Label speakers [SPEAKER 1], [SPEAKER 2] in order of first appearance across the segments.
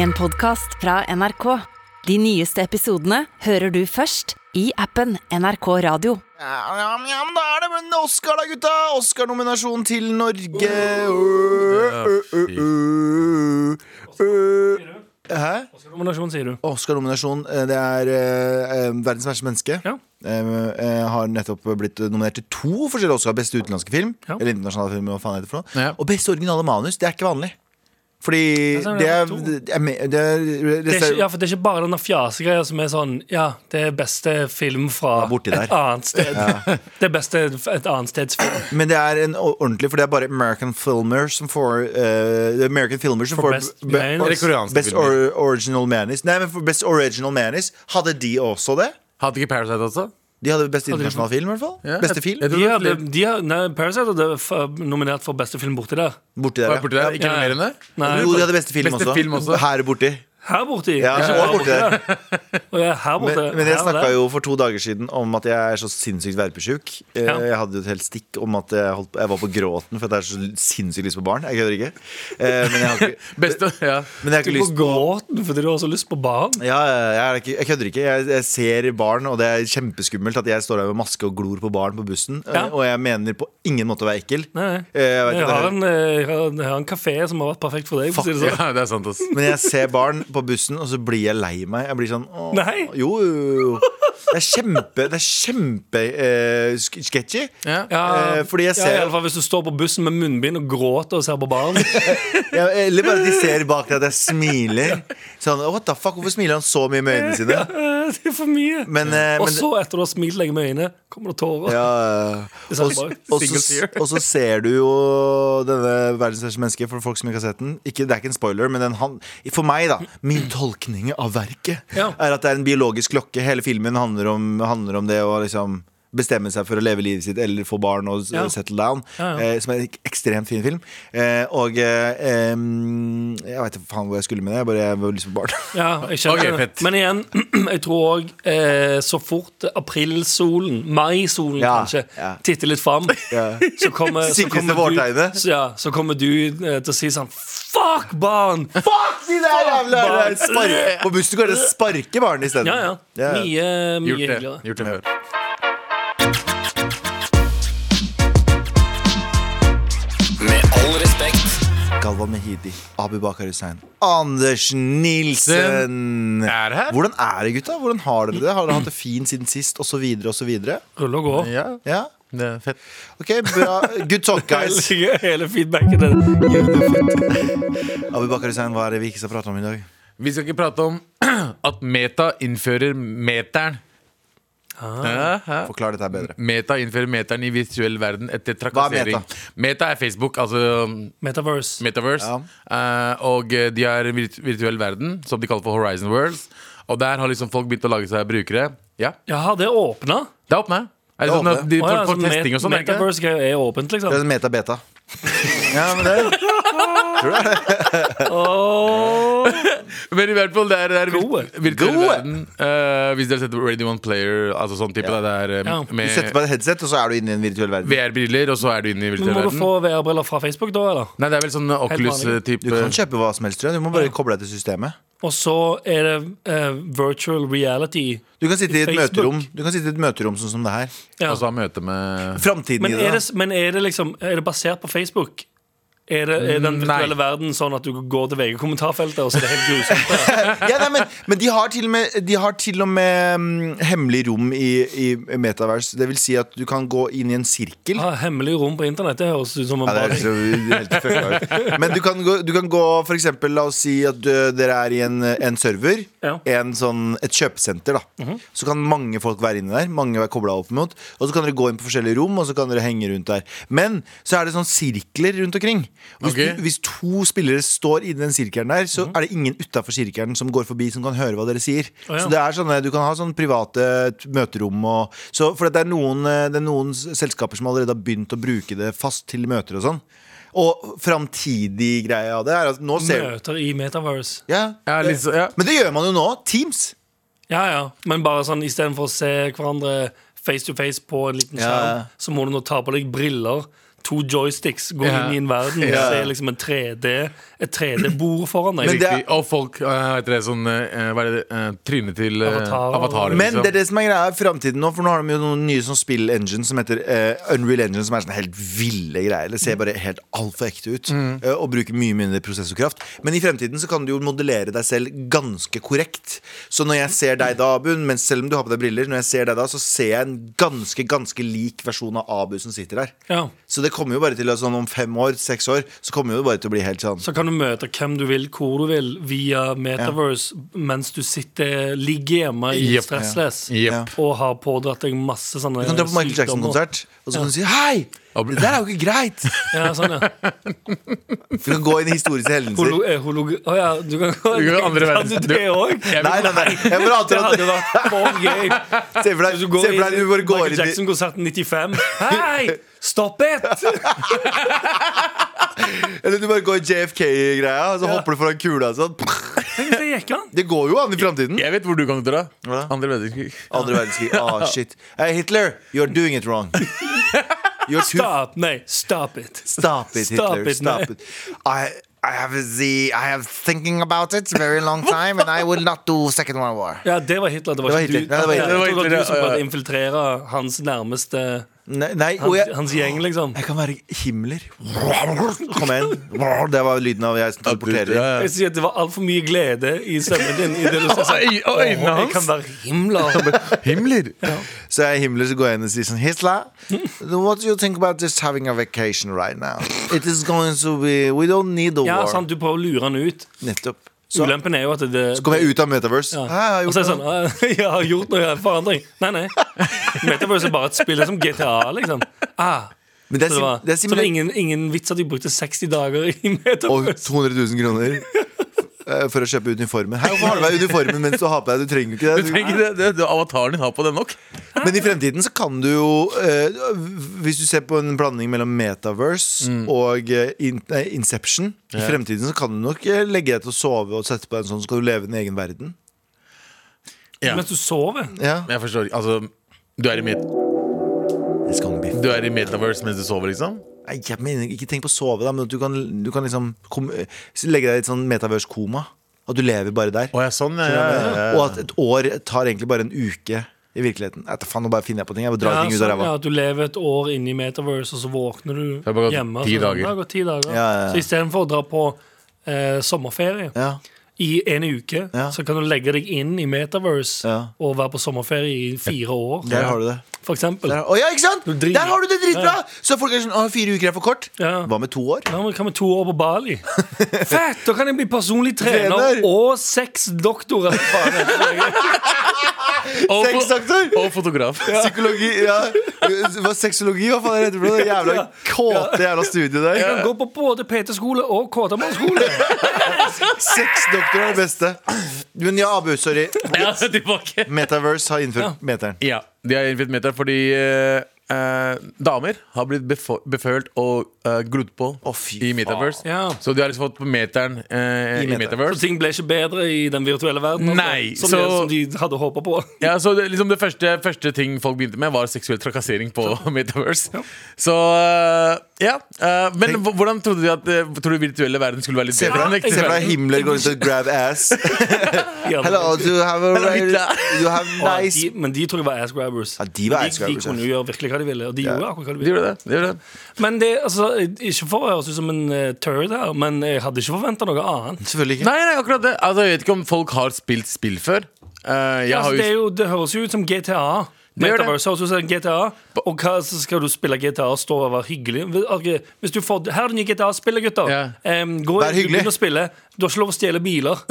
[SPEAKER 1] En podcast fra NRK. De nyeste episodene hører du først i appen NRK Radio.
[SPEAKER 2] Ja, ja, men- ja, men da er det med Oscar, da, gutta! Oscar-nominasjon til Norge. Ø, ø, ø, ø, ø. Hæ?
[SPEAKER 3] Nominasjon, sier du.
[SPEAKER 2] Oscar-nominasjon. eh, Det er eh, eh, verdens verste menneske.
[SPEAKER 3] Ja.
[SPEAKER 2] Eh, eh, har nettopp blitt nominert til to forskjellige Oscar. Beste utenlandske film.
[SPEAKER 3] Ja.
[SPEAKER 2] Eller internasjonale film, hva faen heter det for noe.
[SPEAKER 4] Ja.
[SPEAKER 2] Og beste originale manus. Det er ikke vanlig. Fordi
[SPEAKER 3] Det er sånn,
[SPEAKER 2] det
[SPEAKER 3] ja,
[SPEAKER 2] er,
[SPEAKER 3] to.
[SPEAKER 2] det er, me- det er,
[SPEAKER 3] Det er ikke, ja,
[SPEAKER 2] ja.
[SPEAKER 3] for det er ikke bare denne fjasegreia som er sånn Ja, det er beste film fra
[SPEAKER 2] Ja, borti der.
[SPEAKER 3] et annet sted. Det er beste f- et annet steds film.
[SPEAKER 2] Men det er en o- ordentlig, for det er bare American Filmer som får eh, det er American Filmer som
[SPEAKER 3] For
[SPEAKER 2] får
[SPEAKER 3] best
[SPEAKER 2] be-
[SPEAKER 3] manus.
[SPEAKER 2] or-
[SPEAKER 3] Eller
[SPEAKER 4] koreanske
[SPEAKER 2] Best
[SPEAKER 4] filmer.
[SPEAKER 2] or, Original Manis. Nei, men for Best Original Manis, hadde de også det?
[SPEAKER 4] Hadde ikke Parasite også?
[SPEAKER 2] De hadde Best internasjonal film, i hvert fall.
[SPEAKER 4] Ja,
[SPEAKER 2] Beste
[SPEAKER 4] jeg-
[SPEAKER 2] film.
[SPEAKER 4] jeg tror
[SPEAKER 3] De
[SPEAKER 4] det er
[SPEAKER 3] hadde,
[SPEAKER 4] flere-
[SPEAKER 3] de hadde, nei, Parasite hadde f- nominert for beste film borti der.
[SPEAKER 2] Borti
[SPEAKER 4] Var
[SPEAKER 2] der,
[SPEAKER 4] det borti der? Ikke
[SPEAKER 3] Ja.
[SPEAKER 4] noe mer enn det?
[SPEAKER 3] Nei,
[SPEAKER 2] Jo, de hadde beste film,
[SPEAKER 4] Beste
[SPEAKER 2] også.
[SPEAKER 4] film også.
[SPEAKER 2] Her borti.
[SPEAKER 3] her borti.
[SPEAKER 2] Ja,
[SPEAKER 3] Ikke
[SPEAKER 2] og
[SPEAKER 3] bare
[SPEAKER 2] borti der.
[SPEAKER 3] Og jeg er her borte.
[SPEAKER 2] Men, men jeg
[SPEAKER 3] her og
[SPEAKER 2] snakka
[SPEAKER 3] der.
[SPEAKER 2] jo for to dager siden om at jeg er så sinnssykt verpesjuk. Eh,
[SPEAKER 3] Ja.
[SPEAKER 2] Jeg hadde jo et helt stikk om at jeg, holdt, jeg var på gråten fordi jeg har så sinnssykt lyst på barn. Jeg kødder ikke. Eh, Men jeg har ikke,
[SPEAKER 4] Beste, ja.
[SPEAKER 2] men jeg har ikke
[SPEAKER 3] Du
[SPEAKER 2] lyst
[SPEAKER 3] på gråten fordi du har så lyst på barn.
[SPEAKER 2] Ja, jeg, er ikke, jeg kødder ikke. Jeg, jeg ser barn, og det er kjempeskummelt at jeg står der med maske og glor på barn på bussen. øh,
[SPEAKER 3] Ja.
[SPEAKER 2] Og jeg mener på ingen måte å være ekkel.
[SPEAKER 3] Nei,
[SPEAKER 2] Eh,
[SPEAKER 3] nei.
[SPEAKER 2] Jeg vet
[SPEAKER 3] Jeg
[SPEAKER 2] ikke,
[SPEAKER 3] har
[SPEAKER 2] det-
[SPEAKER 3] en, eh, jeg har en- jeg har en kafé som har vært perfekt for deg. For å si det sånn.
[SPEAKER 4] ja, det er sant, ass.
[SPEAKER 2] Men jeg ser barn på bussen, og så blir jeg lei meg. Jeg blir sånn åh,
[SPEAKER 3] Nei.
[SPEAKER 2] Jo, jo, jo. Det er kjempe, det er kjempe eh, sk- sketchy.
[SPEAKER 4] Ja.
[SPEAKER 2] Eh, fordi jeg ser-
[SPEAKER 3] ja, i alle fall Hvis du står på bussen med munnbind og gråter og ser på barn. Eh,
[SPEAKER 2] Ja, eller bare de ser bak deg at jeg smiler. Sånn, what the fuck, Hvorfor smiler han så mye med øynene sine?
[SPEAKER 3] Eh, det er for mye.
[SPEAKER 2] Men, eh,
[SPEAKER 3] og
[SPEAKER 2] men-
[SPEAKER 3] så, etter du har smilt lenge med øynene, kommer det tårer.
[SPEAKER 2] Ja,
[SPEAKER 3] Det
[SPEAKER 2] og,
[SPEAKER 3] er sant,
[SPEAKER 2] og,
[SPEAKER 3] bare.
[SPEAKER 2] så, og så ser du jo denne verdens verste menneske for folk som ikke har sett den. Ikke, det er ikke en spoiler, men den, han, for meg, da. Min tolkning av verket
[SPEAKER 3] Ja.
[SPEAKER 2] er at det er en biologisk klokke. Hele filmen handler om, handler om det å liksom bestemme seg for å leve livet sitt eller få barn og s-
[SPEAKER 3] Ja.
[SPEAKER 2] settle down.
[SPEAKER 3] Ja, ja.
[SPEAKER 2] Eh, som er en ek- ekstremt fin film. Eh, og eh, em, Jeg veit ikke faen hvor jeg skulle med det. Jeg bare jeg var lyst på barn.
[SPEAKER 3] Ja, jeg skjønner
[SPEAKER 4] Ok,
[SPEAKER 3] det.
[SPEAKER 4] fett.
[SPEAKER 3] Men igjen, jeg tror òg eh, så fort aprilsolen, maisolen
[SPEAKER 2] Ja,
[SPEAKER 3] kanskje,
[SPEAKER 2] ja.
[SPEAKER 3] titter litt fram, så kommer, så
[SPEAKER 2] Sikreste
[SPEAKER 3] kommer du,
[SPEAKER 2] vårtegnet.
[SPEAKER 3] så, ja, så kommer du eh, til å si sånn Fuck barn!
[SPEAKER 2] Fuck de der jævla
[SPEAKER 3] barn!
[SPEAKER 2] Spark- På bussen går det å sparke barn isteden.
[SPEAKER 3] Ja, ja. Mye, mye
[SPEAKER 4] Gjort det.
[SPEAKER 3] hyggeligere.
[SPEAKER 4] Gjort det før.
[SPEAKER 5] Med all respekt.
[SPEAKER 2] Galvan Mehidi, Abu Bakar Hussein, Anders Nilsen.
[SPEAKER 4] er her.
[SPEAKER 2] Hvordan er det, gutta? Hvordan Har dere det? Har dere hatt det fint siden sist? Og så videre, og så videre.
[SPEAKER 3] Rulle og gå.
[SPEAKER 4] Ja,
[SPEAKER 2] Ja?
[SPEAKER 4] det er fett.
[SPEAKER 2] Ok, bra. Good talk, guys.
[SPEAKER 3] Hele, hele feedbacken er
[SPEAKER 2] Abu Bakar Hussein, hva er det vi ikke skal prate om i dag?
[SPEAKER 4] Vi skal ikke prate om at Meta innfører meteren.
[SPEAKER 3] Ah.
[SPEAKER 4] Ja, ja.
[SPEAKER 2] Forklar dette her bedre.
[SPEAKER 4] Meta innfører meteren i virtuell verden
[SPEAKER 2] Hva er
[SPEAKER 4] etter
[SPEAKER 2] meta?
[SPEAKER 4] trakassering. Meta er Facebook, altså
[SPEAKER 3] Metaverse.
[SPEAKER 4] Metaverse.
[SPEAKER 2] Ja.
[SPEAKER 4] Eh, og eh, de har en virt virtuell verden som de kaller for Horizon Worlds. Og der har liksom folk begynt å lage seg brukere. Ja,
[SPEAKER 3] Jaha, det åpna?
[SPEAKER 4] det er åpne. Er
[SPEAKER 2] Det
[SPEAKER 4] det
[SPEAKER 2] er
[SPEAKER 4] sånn at
[SPEAKER 2] åpne.
[SPEAKER 4] de
[SPEAKER 3] Å ja,
[SPEAKER 4] får, får
[SPEAKER 3] altså,
[SPEAKER 4] testing og
[SPEAKER 3] met-
[SPEAKER 4] sånn? er det ikke det?
[SPEAKER 3] Metaverse er jo åpent, liksom.
[SPEAKER 2] Det er meta-beta. Ja, men det
[SPEAKER 4] Men i hvert fall, det er, det er virt-
[SPEAKER 3] Gode.
[SPEAKER 4] virtuell
[SPEAKER 2] Gode.
[SPEAKER 4] verden. Eh, hvis dere setter Radio One Player, altså sånn type,
[SPEAKER 2] Ja.
[SPEAKER 4] da, det er eh,
[SPEAKER 3] Ja.
[SPEAKER 2] Du setter
[SPEAKER 4] med
[SPEAKER 2] på deg et headset, og så er du inne i en virtuell verden.
[SPEAKER 4] VR-briller, og så er du inne i
[SPEAKER 3] Men
[SPEAKER 4] virtuell
[SPEAKER 3] må du
[SPEAKER 4] verden.
[SPEAKER 3] få VR-briller fra Facebook, da? eller?
[SPEAKER 4] Nei, det er vel sånn eh,
[SPEAKER 3] vanlig.
[SPEAKER 2] Du kan
[SPEAKER 4] Oculus-type.
[SPEAKER 2] kjøpe hva som helst, tror jeg. Du må bare koble deg til systemet.
[SPEAKER 3] Og så er det eh, virtual reality.
[SPEAKER 2] Du kan sitte i et
[SPEAKER 3] Facebook.
[SPEAKER 2] møterom Du kan sitte i et møterom sånn som det her.
[SPEAKER 3] Ja.
[SPEAKER 4] Og så ha møte med
[SPEAKER 2] Framtiden
[SPEAKER 3] Men
[SPEAKER 2] i det.
[SPEAKER 3] er
[SPEAKER 2] da.
[SPEAKER 3] det, men er det liksom Er det basert på Facebook? Er, det, er den virtuelle
[SPEAKER 4] Nei.
[SPEAKER 3] verden sånn at du går til VG-kommentarfeltet, og så er det helt grusomt? der?
[SPEAKER 2] ja, nei, men, men de har til og med, de har til og med mm, hemmelig rom i, i metaverse. Det vil si at du kan gå inn i en sirkel.
[SPEAKER 3] Ah, hemmelig rom på internett, det høres ut som en
[SPEAKER 2] Ja, det
[SPEAKER 3] bra
[SPEAKER 2] er
[SPEAKER 3] ting.
[SPEAKER 2] så helt fucka ut. Men du kan gå, du kan gå for eksempel, la oss si at du, dere er i en, en server.
[SPEAKER 3] Ja.
[SPEAKER 2] En sånn, et kjøpesenter. da Så kan mange folk være inne der. Mange være koblet opp mot Og så kan dere gå inn på forskjellige rom, og så kan dere henge rundt der. Men så er det sånn sirkler rundt omkring. Hvis,
[SPEAKER 4] Ok.
[SPEAKER 2] du, hvis to spillere står inni den sirkelen der,
[SPEAKER 4] Mhm.
[SPEAKER 2] så er det ingen utafor sirkelen som går forbi, som kan høre hva dere sier.
[SPEAKER 3] Å, ja.
[SPEAKER 2] Så det er sånne, Du kan ha sånne private t- møterom og så, For det er, noen, eh, det er noen s- selskaper som allerede har begynt å bruke det fast til møter og sånn. Og framtidig greie av det er at nå ser du
[SPEAKER 3] Møter i Metaverse.
[SPEAKER 2] ja,
[SPEAKER 4] Ja, litt så- ja.
[SPEAKER 2] Men det gjør man jo nå. Teams.
[SPEAKER 3] Ja, ja. Men bare sånn istedenfor å se hverandre face to face på en liten
[SPEAKER 2] Ja, ja.
[SPEAKER 3] skjerm, så må du nå ta på deg briller to joysticks går
[SPEAKER 4] Ja.
[SPEAKER 3] inn i en verden. og
[SPEAKER 2] Ja.
[SPEAKER 3] ser liksom en 3D, et 3D-bord foran deg.
[SPEAKER 2] Men det er-
[SPEAKER 4] Og folk eh, Hva heter det sånn eh, Hva er det eh, Trynet til eh,
[SPEAKER 3] Avatar.
[SPEAKER 4] Avatar
[SPEAKER 2] Men
[SPEAKER 4] liksom.
[SPEAKER 2] det er det som er greia i framtiden nå, for nå har de jo noen nye sånn spill-engine som heter eh, Unreal Engine, som er sånne helt ville greier. Det ser bare helt altfor ekte ut, eh, og bruker mye mindre prosessorkraft. Men i fremtiden så kan du jo modellere deg selv ganske korrekt. Så når jeg ser deg da, Abu, men selv om du har på deg briller, når jeg ser deg da, så ser jeg en ganske, ganske lik versjon av Abu som sitter der.
[SPEAKER 3] Ja.
[SPEAKER 2] Så det kommer jo bare til å sånn om fem år, seks år, så kommer jo det bare til å bli helt sånn
[SPEAKER 3] Så kan du møte hvem du vil, hvor du vil, via Metaverse mens du sitter, ligger hjemme i
[SPEAKER 4] Jepp.
[SPEAKER 3] stressless
[SPEAKER 4] Jepp.
[SPEAKER 3] og har pådratt deg masse sånne
[SPEAKER 2] Du kan dra på Michael
[SPEAKER 3] sykdommer.
[SPEAKER 2] Jackson-konsert, og så kan du si hei! Det der er jo ikke greit!
[SPEAKER 3] Ja, sånn, ja.
[SPEAKER 2] Du kan gå inn i historiske hendelser.
[SPEAKER 3] Holo, eh, holo, Å ja, du kan gå
[SPEAKER 4] Du kan andre verden-
[SPEAKER 3] Det òg?
[SPEAKER 4] Jeg vil-
[SPEAKER 2] Nei, nei, nei. Jeg bare
[SPEAKER 3] Det
[SPEAKER 2] antar at
[SPEAKER 3] hadde vært for gøy.
[SPEAKER 2] Se for deg,
[SPEAKER 3] Hvis du
[SPEAKER 2] se
[SPEAKER 3] går
[SPEAKER 2] for
[SPEAKER 3] inn
[SPEAKER 2] deg
[SPEAKER 3] i
[SPEAKER 2] du bare går
[SPEAKER 3] Michael
[SPEAKER 2] inn i
[SPEAKER 3] Jackson-konserten 95. Hei! Stopp it!
[SPEAKER 2] Eller du bare går i JFK-greia, og så hopper du foran kula og sånn.
[SPEAKER 3] Tenk, det gikk an.
[SPEAKER 2] Det går jo an i framtiden.
[SPEAKER 4] Jeg vet hvor du kan dra
[SPEAKER 2] Hva da?
[SPEAKER 4] Andre verdenskrig
[SPEAKER 2] Andre verdenskrig. Ah, shit. Hey, Hitler, you're doing it wrong. You're too
[SPEAKER 3] Stop. Nei, stop it.
[SPEAKER 2] Stop it,
[SPEAKER 3] Stop
[SPEAKER 2] Hitler.
[SPEAKER 3] it,
[SPEAKER 2] Stop
[SPEAKER 3] nei.
[SPEAKER 2] it. I, I have the I have thinking about it very long time, and I will not do second world war.
[SPEAKER 3] Ja, det var Hitler. Det var,
[SPEAKER 2] Det var
[SPEAKER 3] ikke
[SPEAKER 2] Hitler.
[SPEAKER 3] du.
[SPEAKER 2] Nei, det var Hitler.
[SPEAKER 4] Det var
[SPEAKER 3] Ja, Jeg tror det var
[SPEAKER 4] Hitler,
[SPEAKER 3] du som
[SPEAKER 4] ja, ja.
[SPEAKER 3] prøvde å infiltrere hans nærmeste
[SPEAKER 2] Nei, nei og
[SPEAKER 3] Hans,
[SPEAKER 2] jeg,
[SPEAKER 3] hans gjeng, liksom.
[SPEAKER 2] jeg kan være Himmler. Kom igjen. Det var lyden av jeg som teleporterer.
[SPEAKER 4] Ja, ja.
[SPEAKER 3] Jeg sier at Det var altfor mye glede i stemmen din. I det du sa.
[SPEAKER 4] Og øy- og øynene
[SPEAKER 3] Åh,
[SPEAKER 4] hans.
[SPEAKER 3] Jeg kan være himla
[SPEAKER 4] Himmler
[SPEAKER 2] Så jeg er himmelen, så går jeg inn og sier sånn Hitler, what do you think about just having a vacation right now? It is going to be We don't need a
[SPEAKER 3] Ja,
[SPEAKER 2] war.
[SPEAKER 3] sant, Du prøver å lure han ut.
[SPEAKER 2] Nettopp. Så,
[SPEAKER 3] Ulempen er jo at det
[SPEAKER 2] så kommer jeg ut av Metaverse.
[SPEAKER 3] Ja.
[SPEAKER 2] Hæ, jeg har
[SPEAKER 3] Og så er det
[SPEAKER 2] gjort
[SPEAKER 3] sånn «Ah, Jeg har gjort noe jeg har forandring. Nei, nei. Metaverse er bare et spill det er som GTA, liksom. Ah.
[SPEAKER 2] noe. Men det er,
[SPEAKER 3] Så det
[SPEAKER 2] sim- det er
[SPEAKER 3] var, så det var
[SPEAKER 2] simpelthen
[SPEAKER 3] ingen, ingen vits at de brukte 60 dager i
[SPEAKER 2] Og
[SPEAKER 3] Metaverse.
[SPEAKER 2] 200 000 kroner eh, for å kjøpe uniformen. Hæ, hvorfor har du deg uniformen mens du har på deg? Du trenger jo ikke
[SPEAKER 4] Du
[SPEAKER 2] det.
[SPEAKER 4] trenger det, det, det Avataren din har på den nok
[SPEAKER 2] Men i fremtiden så kan du jo eh, Hvis du ser på en blanding mellom Metaverse
[SPEAKER 3] Mm.
[SPEAKER 2] og eh, in nei, Inception I
[SPEAKER 4] Ja.
[SPEAKER 2] fremtiden så kan du nok eh, legge deg til å sove og sette på en sånn, så skal du leve i din egen verden.
[SPEAKER 4] Ja
[SPEAKER 3] Mens du sover.
[SPEAKER 2] Ja.
[SPEAKER 4] Men Jeg forstår ikke Altså du er, i met
[SPEAKER 2] It's gonna be
[SPEAKER 4] du er i Metaverse mens du sover liksom
[SPEAKER 2] Nei, jeg mener, ikke tenk på å sove, da, men at du kan, du kan liksom kom, legge deg i et sånn metaverse-koma. At du lever bare der.
[SPEAKER 4] Åja sånn ja, ja, ja, ja.
[SPEAKER 2] Og at et år tar egentlig bare en uke i virkeligheten. Nei, ta faen, nå bare finner jeg på ting. Jeg bare drar
[SPEAKER 3] Ja,
[SPEAKER 2] ting ut av
[SPEAKER 3] sånn,
[SPEAKER 2] ræva.
[SPEAKER 3] ja, du lever et år inne i Metaverse, og så våkner du
[SPEAKER 4] har bare gått
[SPEAKER 3] hjemme.
[SPEAKER 4] ti
[SPEAKER 3] sånn,
[SPEAKER 4] dager.
[SPEAKER 3] Det har gått ti dager.
[SPEAKER 2] Ja, ja, ja.
[SPEAKER 3] Så istedenfor å dra på eh, sommerferie
[SPEAKER 2] Ja.
[SPEAKER 3] i en uke,
[SPEAKER 2] Ja.
[SPEAKER 3] så kan du legge deg inn i Metaverse
[SPEAKER 2] Ja.
[SPEAKER 3] og være på sommerferie i fire år,
[SPEAKER 2] Der har du det.
[SPEAKER 3] for eksempel.
[SPEAKER 2] Der, å ja, ikke sant?
[SPEAKER 3] driter.
[SPEAKER 2] Der har du det dritbra! Så folk er sånn å, fire uker er for kort.
[SPEAKER 3] Ja.
[SPEAKER 2] Hva med to år?
[SPEAKER 3] Ja, men Hva med to år på Bali? Fett! Da kan jeg bli personlig trener,
[SPEAKER 2] Trener.
[SPEAKER 3] og seks doktorer.
[SPEAKER 4] Og, fo-
[SPEAKER 2] Sexdoktor!
[SPEAKER 4] og fotograf
[SPEAKER 2] Psykologi ja. Hva, Sexologi, hva faen er det? Det jævla kåte jævla studiet der.
[SPEAKER 3] Gå på både PT-skole og KTM-skole.
[SPEAKER 2] Sexdoktor er det beste. Men ja, Abu, sorry.
[SPEAKER 4] Ja, så tilbake
[SPEAKER 2] Metaverse har innført meteren.
[SPEAKER 4] Ja, de har innfridd meter fordi eh, eh, damer har blitt befo- befølt og uh, glodd på
[SPEAKER 2] Å, fy
[SPEAKER 4] i Metaverse.
[SPEAKER 3] faen. Ja.
[SPEAKER 4] Så de har liksom fått på meteren
[SPEAKER 2] I
[SPEAKER 4] eh, i,
[SPEAKER 2] meter.
[SPEAKER 3] Så
[SPEAKER 4] Metaverse.
[SPEAKER 3] ting ble ikke bedre i den virtuelle verden? altså,
[SPEAKER 4] Nei,
[SPEAKER 3] som,
[SPEAKER 4] så-
[SPEAKER 3] det, som de hadde håpa på?
[SPEAKER 4] Ja, så det, liksom det første, første ting folk begynte med, var seksuell trakassering på Metaverse. Så eh, ja. eh, men hv- hvordan trodde de at eh, Tror du virtuelle verden skulle være litt
[SPEAKER 2] Se for
[SPEAKER 4] bedre? enn
[SPEAKER 2] deg-
[SPEAKER 4] ekte
[SPEAKER 2] se for deg
[SPEAKER 4] verden?
[SPEAKER 2] Himmler går rundt og grab ass.
[SPEAKER 3] Ja,
[SPEAKER 2] Hello, do you have a
[SPEAKER 4] Hello, Hitler.
[SPEAKER 2] you have
[SPEAKER 3] og
[SPEAKER 2] nice
[SPEAKER 3] de, men de tror jeg var ass grabbers.
[SPEAKER 2] Ja, de var
[SPEAKER 3] Men
[SPEAKER 2] ass grabbers,
[SPEAKER 3] De kunne jo gjøre virkelig hva de ville. Og de gjorde akkurat hva de
[SPEAKER 4] De
[SPEAKER 3] ville.
[SPEAKER 4] gjorde det. De gjorde det.
[SPEAKER 3] Men det, altså, Ikke for å høres ut som en eh, turd her, men jeg hadde ikke forventa noe annet.
[SPEAKER 2] Selvfølgelig ikke.
[SPEAKER 4] Nei, nei, akkurat det. Altså, jeg vet ikke om folk har spilt spill før. Eh, jeg
[SPEAKER 3] Altså,
[SPEAKER 4] har
[SPEAKER 3] det,
[SPEAKER 4] jo
[SPEAKER 3] er jo, det høres jo ut som GTA.
[SPEAKER 4] Det gjør det.
[SPEAKER 3] Metaverse høres ut som GTA. Og hva så skal du spille GTA og stå og være hyggelig? Ok, Hvis du får, her er det nye GTA-spillet, gutter.
[SPEAKER 4] Ja.
[SPEAKER 3] Em, gå
[SPEAKER 2] Vær
[SPEAKER 3] inn,
[SPEAKER 2] hyggelig.
[SPEAKER 3] Begynn å spille. Du har ikke lov å stjele biler.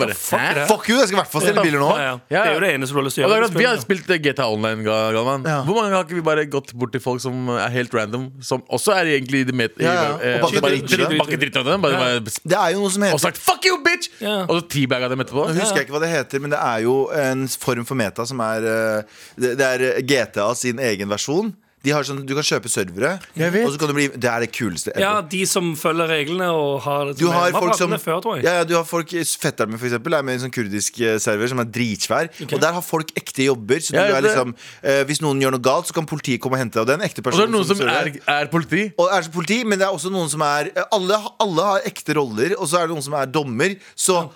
[SPEAKER 4] bare, Hæ?
[SPEAKER 2] Fuck you, jeg skal i hvert fall stjele biler nå.
[SPEAKER 3] Ja, ja. Det er jo det eneste du har lyst til å
[SPEAKER 4] Og det er
[SPEAKER 3] gjøre.
[SPEAKER 4] at vi har spilt eh, GTA Online, Ga- Galvan.
[SPEAKER 2] Ja.
[SPEAKER 4] Hvor mange ganger har ikke vi bare gått bort til folk som er helt random, som også er egentlig i det met... i-
[SPEAKER 2] Ja, ja.
[SPEAKER 4] eh,
[SPEAKER 2] Og bare
[SPEAKER 4] bare
[SPEAKER 2] driter i det.
[SPEAKER 4] bakke dritt av dem. Bare,
[SPEAKER 3] Ja.
[SPEAKER 4] bare,
[SPEAKER 2] Det er jo noe som
[SPEAKER 4] og
[SPEAKER 2] heter
[SPEAKER 4] sagt 'fuck you, bitch!'
[SPEAKER 3] Ja.
[SPEAKER 4] Og så teabaga dem etterpå.
[SPEAKER 2] Nå husker jeg ikke hva det heter, men det eh, er jo en form for meta som er eh, Det det er GTA sin egen versjon. De har sånn, du kan kjøpe servere,
[SPEAKER 4] Jeg vet.
[SPEAKER 2] og så kan du bli Det er det kuleste. ever.
[SPEAKER 3] Ja, de som følger reglene og har
[SPEAKER 2] Du har
[SPEAKER 3] Vi har
[SPEAKER 2] folk
[SPEAKER 3] pratet
[SPEAKER 2] som
[SPEAKER 3] om det før, tror jeg.
[SPEAKER 2] ja, ja, du har folk Fetteren min for eksempel er med i en sånn kurdisk eh, server som er dritsvær. Og der har folk ekte jobber. Så
[SPEAKER 4] Ja,
[SPEAKER 2] du
[SPEAKER 4] ja,
[SPEAKER 2] er
[SPEAKER 4] det-
[SPEAKER 2] liksom, eh, hvis noen gjør noe galt, så kan politiet komme og hente deg. Og det er en ekte
[SPEAKER 4] Og så
[SPEAKER 2] person.
[SPEAKER 4] er det noen som er,
[SPEAKER 2] serverer.
[SPEAKER 4] er politi.
[SPEAKER 2] og det er så politi, men det er også noen som er eh, alle, alle har ekte roller, og så er det noen som er dommer. Så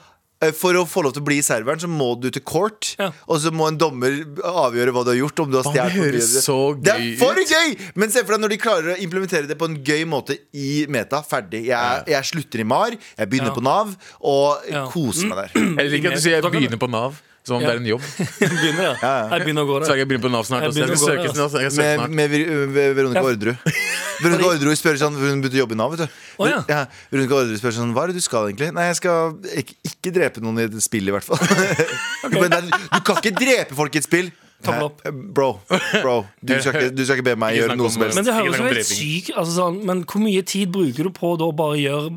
[SPEAKER 2] eh, for å få lov til å bli serveren, så må du til court.
[SPEAKER 3] Ja.
[SPEAKER 2] Og så må en dommer avgjøre hva du har gjort. Om du har
[SPEAKER 4] Faen, det
[SPEAKER 2] stjålet for mye.
[SPEAKER 4] høres så
[SPEAKER 2] Det er
[SPEAKER 4] gøy
[SPEAKER 2] for gøy! Men se for deg når de klarer å implementere det på en gøy måte i Meta. Ferdig. Jeg, jeg slutter i MAR, jeg begynner
[SPEAKER 3] Ja.
[SPEAKER 2] på Nav, og
[SPEAKER 3] Ja.
[SPEAKER 2] koser meg der.
[SPEAKER 4] Jeg liker at du sier jeg begynner på Nav, som om
[SPEAKER 3] Ja.
[SPEAKER 4] det er en jobb. Så
[SPEAKER 3] Begynner, ja. Jeg begynner å gå der.
[SPEAKER 4] jeg begynner på Nav snart.
[SPEAKER 3] Jeg
[SPEAKER 4] Også. Jeg skal søke
[SPEAKER 3] begynner å gå der,
[SPEAKER 4] snart. Jeg skal søke
[SPEAKER 2] Med,
[SPEAKER 4] snart.
[SPEAKER 2] med Ver- eh, Ver- Veronica
[SPEAKER 3] Ja.
[SPEAKER 2] Orderud. Veronica Orderud spør sånn for Hun begynte å jobbe i Nav. vet du
[SPEAKER 3] Å, ja.
[SPEAKER 2] Ja, Veronica Orderud spør sånn Hva er det du skal egentlig? Nei, jeg skal ikke, ikke drepe noen i et spill, i hvert fall. Du bare, «Nei, du kan ikke drepe folk i et spill! Nei,
[SPEAKER 3] Tommel
[SPEAKER 2] eh,
[SPEAKER 3] opp.
[SPEAKER 2] Bro, bro du, skal ikke, du skal ikke be meg
[SPEAKER 4] Ikke
[SPEAKER 2] gjøre
[SPEAKER 4] snakk
[SPEAKER 2] noe
[SPEAKER 4] om
[SPEAKER 2] som helst.
[SPEAKER 3] Men det
[SPEAKER 4] Ikke
[SPEAKER 3] høres jo
[SPEAKER 4] snakke om
[SPEAKER 3] helt
[SPEAKER 4] dreping.
[SPEAKER 3] sykt altså sånn, Men hvor mye tid bruker du på da å bare gjøre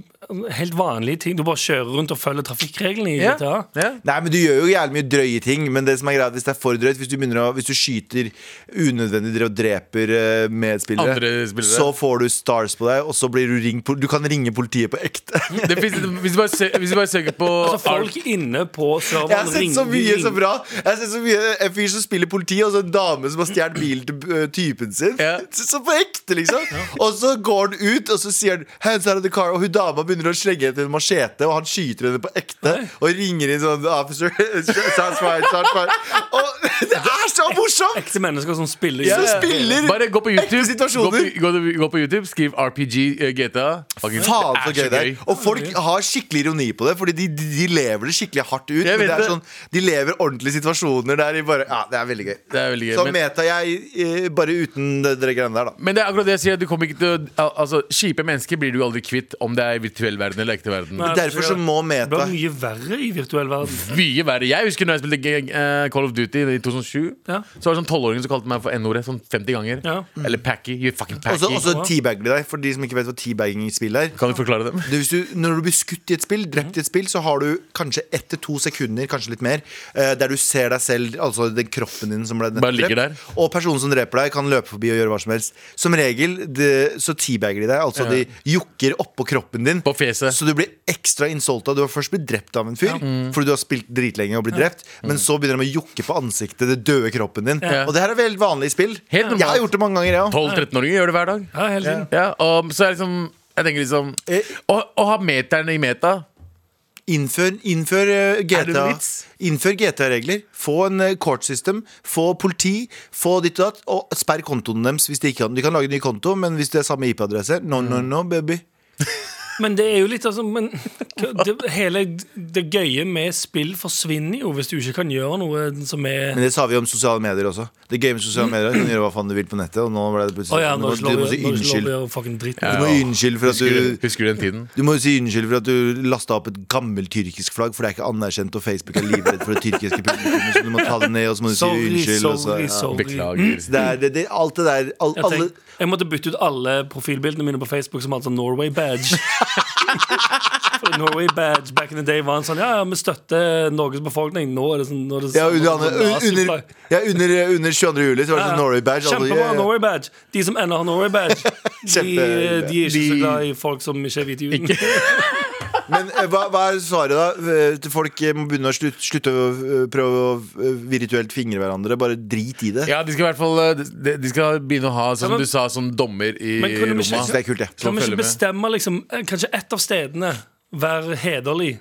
[SPEAKER 3] helt vanlige ting? Du bare kjører rundt og følger trafikkreglene i
[SPEAKER 4] Ja.
[SPEAKER 3] GTA?
[SPEAKER 4] Ja.
[SPEAKER 2] Nei, men Du gjør jo jævlig mye drøye ting, men det som er greit hvis det er for drøyt Hvis du, begynner å, hvis du skyter unødvendig dre- og dreper eh, medspillere,
[SPEAKER 4] Andre spillere.
[SPEAKER 2] så får du stars på deg, og så blir du ringt pol- Du kan ringe politiet på ekte.
[SPEAKER 4] Det finnes, hvis, du bare sø, hvis du bare søker på
[SPEAKER 3] Altså folk inne på serveren
[SPEAKER 2] Jeg har sett så
[SPEAKER 3] ringer-
[SPEAKER 2] mye så
[SPEAKER 3] ringer-
[SPEAKER 2] bra. Jeg har sett så mye En fyr som spiller politi, og så en dame som har stjålet bilen til ø, typen sin.
[SPEAKER 4] Ja.
[SPEAKER 2] Så så på ekte, liksom. Og så går han ut, og så sier han Hands out of the car. Og hun dama begynner å slenge etter en machete, og han skyter henne på ekte. Og ringer inn sånn Officer. Sounds fine, sounds fine. Og det er så morsomt!
[SPEAKER 3] Ekte mennesker som spiller.
[SPEAKER 2] Så
[SPEAKER 3] Ja.
[SPEAKER 2] spiller
[SPEAKER 4] Bare gå på
[SPEAKER 2] Ekte
[SPEAKER 4] YouTube, gå på,
[SPEAKER 2] situasjoner.
[SPEAKER 4] gå, gå på YouTube skriv RPG eh, GTA. Fucking-
[SPEAKER 2] Faen så
[SPEAKER 4] det
[SPEAKER 2] gøy
[SPEAKER 4] er
[SPEAKER 2] det er. Og folk har skikkelig ironi på det, Fordi de, de, de lever det skikkelig hardt ut. Men
[SPEAKER 4] vet
[SPEAKER 2] det er
[SPEAKER 4] det.
[SPEAKER 2] sånn, de lever ordentlige situasjoner der de bare Ja, det er veldig gøy.
[SPEAKER 4] Det er veldig gøy,
[SPEAKER 2] Så
[SPEAKER 4] men-
[SPEAKER 2] meta jeg eh, bare uten det dere greiene der, da.
[SPEAKER 4] Men det er akkurat det jeg sier. Du kommer ikke til å- al- Altså, Kjipe mennesker blir du aldri kvitt, om det er i virtuell verden eller ekte verden.
[SPEAKER 3] Nei.
[SPEAKER 2] Derfor så må
[SPEAKER 3] Det
[SPEAKER 2] meta
[SPEAKER 3] blir mye verre i virtuell verden.
[SPEAKER 4] Mye verre. Jeg husker når jeg spilte G- eh, Call of Duty i 2007.
[SPEAKER 3] Ja.
[SPEAKER 4] Så var det sånn tolvåringer som kalte meg for N-ordet sånn 50 ganger.
[SPEAKER 3] Ja.
[SPEAKER 4] Eller Packy. You fucking Packy.
[SPEAKER 2] Også, også teabagger de deg, for de som ikke vet hva teabagging i spill er.
[SPEAKER 4] Kan du forklare dem?
[SPEAKER 2] Det, hvis du, når du blir skutt i et spill, drept i et spill, så har du kanskje ett til to sekunder, kanskje litt mer, eh, der du ser deg selv, altså den kroppen din som ble nettopp
[SPEAKER 4] Bare ligger
[SPEAKER 2] drept.
[SPEAKER 4] der.
[SPEAKER 2] Og personen som dreper deg, kan løpe forbi og gjøre hva som helst. Som regel det, så teabagger de deg, altså
[SPEAKER 4] Ja.
[SPEAKER 2] de jokker oppå kroppen din.
[SPEAKER 4] På fjeset. Mm.
[SPEAKER 2] Så du blir ekstra insulta. Du har først blitt drept av en fyr fordi du har spilt dritlenge og blitt drept, men så begynner de å jokke på ansiktet, det døde kroppen din.
[SPEAKER 4] Ja.
[SPEAKER 2] Og det her er veldig vanlig i spill.
[SPEAKER 4] Helt normalt.
[SPEAKER 2] Jeg har gjort det mange ganger, jeg òg.
[SPEAKER 4] 12-13-åringer gjør det hver dag.
[SPEAKER 3] Ja, hele tiden.
[SPEAKER 4] Ja, og så er det liksom Jeg tenker liksom
[SPEAKER 2] Eh.
[SPEAKER 4] Å, å ha meterne i meta
[SPEAKER 2] Innfør, innfør eh,
[SPEAKER 4] det noen
[SPEAKER 2] GTA
[SPEAKER 4] vits?
[SPEAKER 2] Innfør GTA-regler. Få en eh, court system. Få politi. Få ditt og datt. Og sperr kontoen deres. Hvis de, ikke kan. de kan lage ny konto, men hvis det er samme IP-adresse No, no,
[SPEAKER 3] Mm.
[SPEAKER 2] no, baby.
[SPEAKER 3] Men det er jo litt altså, men, det, Hele det gøye med spill forsvinner jo hvis du ikke kan gjøre noe som er
[SPEAKER 2] Men det sa vi om sosiale medier også. Det gøy med sosiale medier er at Du kan gjøre hva faen du vil på nettet, og nå ble det
[SPEAKER 3] Å
[SPEAKER 2] plutselig
[SPEAKER 3] ja,
[SPEAKER 2] du, må,
[SPEAKER 3] nå er det
[SPEAKER 2] du,
[SPEAKER 3] ikke
[SPEAKER 2] må
[SPEAKER 3] lov-
[SPEAKER 2] si
[SPEAKER 3] nå er det ikke lov
[SPEAKER 2] unnskyld.
[SPEAKER 3] å gjøre fucking dritt.
[SPEAKER 2] Du må unnskylde for at
[SPEAKER 4] Husker du,
[SPEAKER 2] du
[SPEAKER 4] husker du den tiden?
[SPEAKER 2] du må jo si unnskyld for at du lasta opp et gammelt tyrkisk flagg, for det er ikke anerkjent, og Facebook er livredd for det tyrkiske publikummet, så du må ta det ned, og så må du si
[SPEAKER 3] Sorry,
[SPEAKER 2] unnskyld. og så-
[SPEAKER 3] sorry,
[SPEAKER 2] ja.
[SPEAKER 3] sorry.
[SPEAKER 4] Beklager.
[SPEAKER 2] Så Det er, det, det, alt det der all,
[SPEAKER 3] Jeg,
[SPEAKER 2] alle,
[SPEAKER 3] tenk, jeg måtte bytte ut alle profilbildene mine på Facebook som hadde sånn Norway badge. For Norway badge back in the day var en sånn Ja, ja, vi støtter Norges befolkning. Nå er det sånn nå er det
[SPEAKER 2] Ja, under,
[SPEAKER 3] sånn- sånn
[SPEAKER 2] under, under,
[SPEAKER 3] naziflagg.
[SPEAKER 2] ja, under, under 22. juli så var det
[SPEAKER 3] Ja,
[SPEAKER 2] sånn Norway badge. alle-
[SPEAKER 3] Kjempebra
[SPEAKER 2] ja, ja.
[SPEAKER 3] Norway badge. De som ennå har Norway badge, de, de
[SPEAKER 2] Kjempe-
[SPEAKER 3] er ikke så
[SPEAKER 4] De-
[SPEAKER 3] glad i folk som ikke er hvite i huden.
[SPEAKER 2] Men eh, hva, hva er svaret, da? Eh, til Folk eh, må begynne å slutte, slutte å eh, prøve å eh, virtuelt fingre hverandre. Bare drit i det.
[SPEAKER 4] Ja, de skal i hvert fall eh, de, de skal begynne å ha, sånn som
[SPEAKER 3] Ja, men-
[SPEAKER 4] du sa, som dommer i
[SPEAKER 3] Men kunne vi
[SPEAKER 4] Roma.
[SPEAKER 2] Jeg synes det er kult, jeg.
[SPEAKER 4] Så
[SPEAKER 3] Kan vi
[SPEAKER 4] følger
[SPEAKER 3] ikke
[SPEAKER 4] med.
[SPEAKER 3] bestemme liksom, eh, kanskje ett av stedene være hederlig,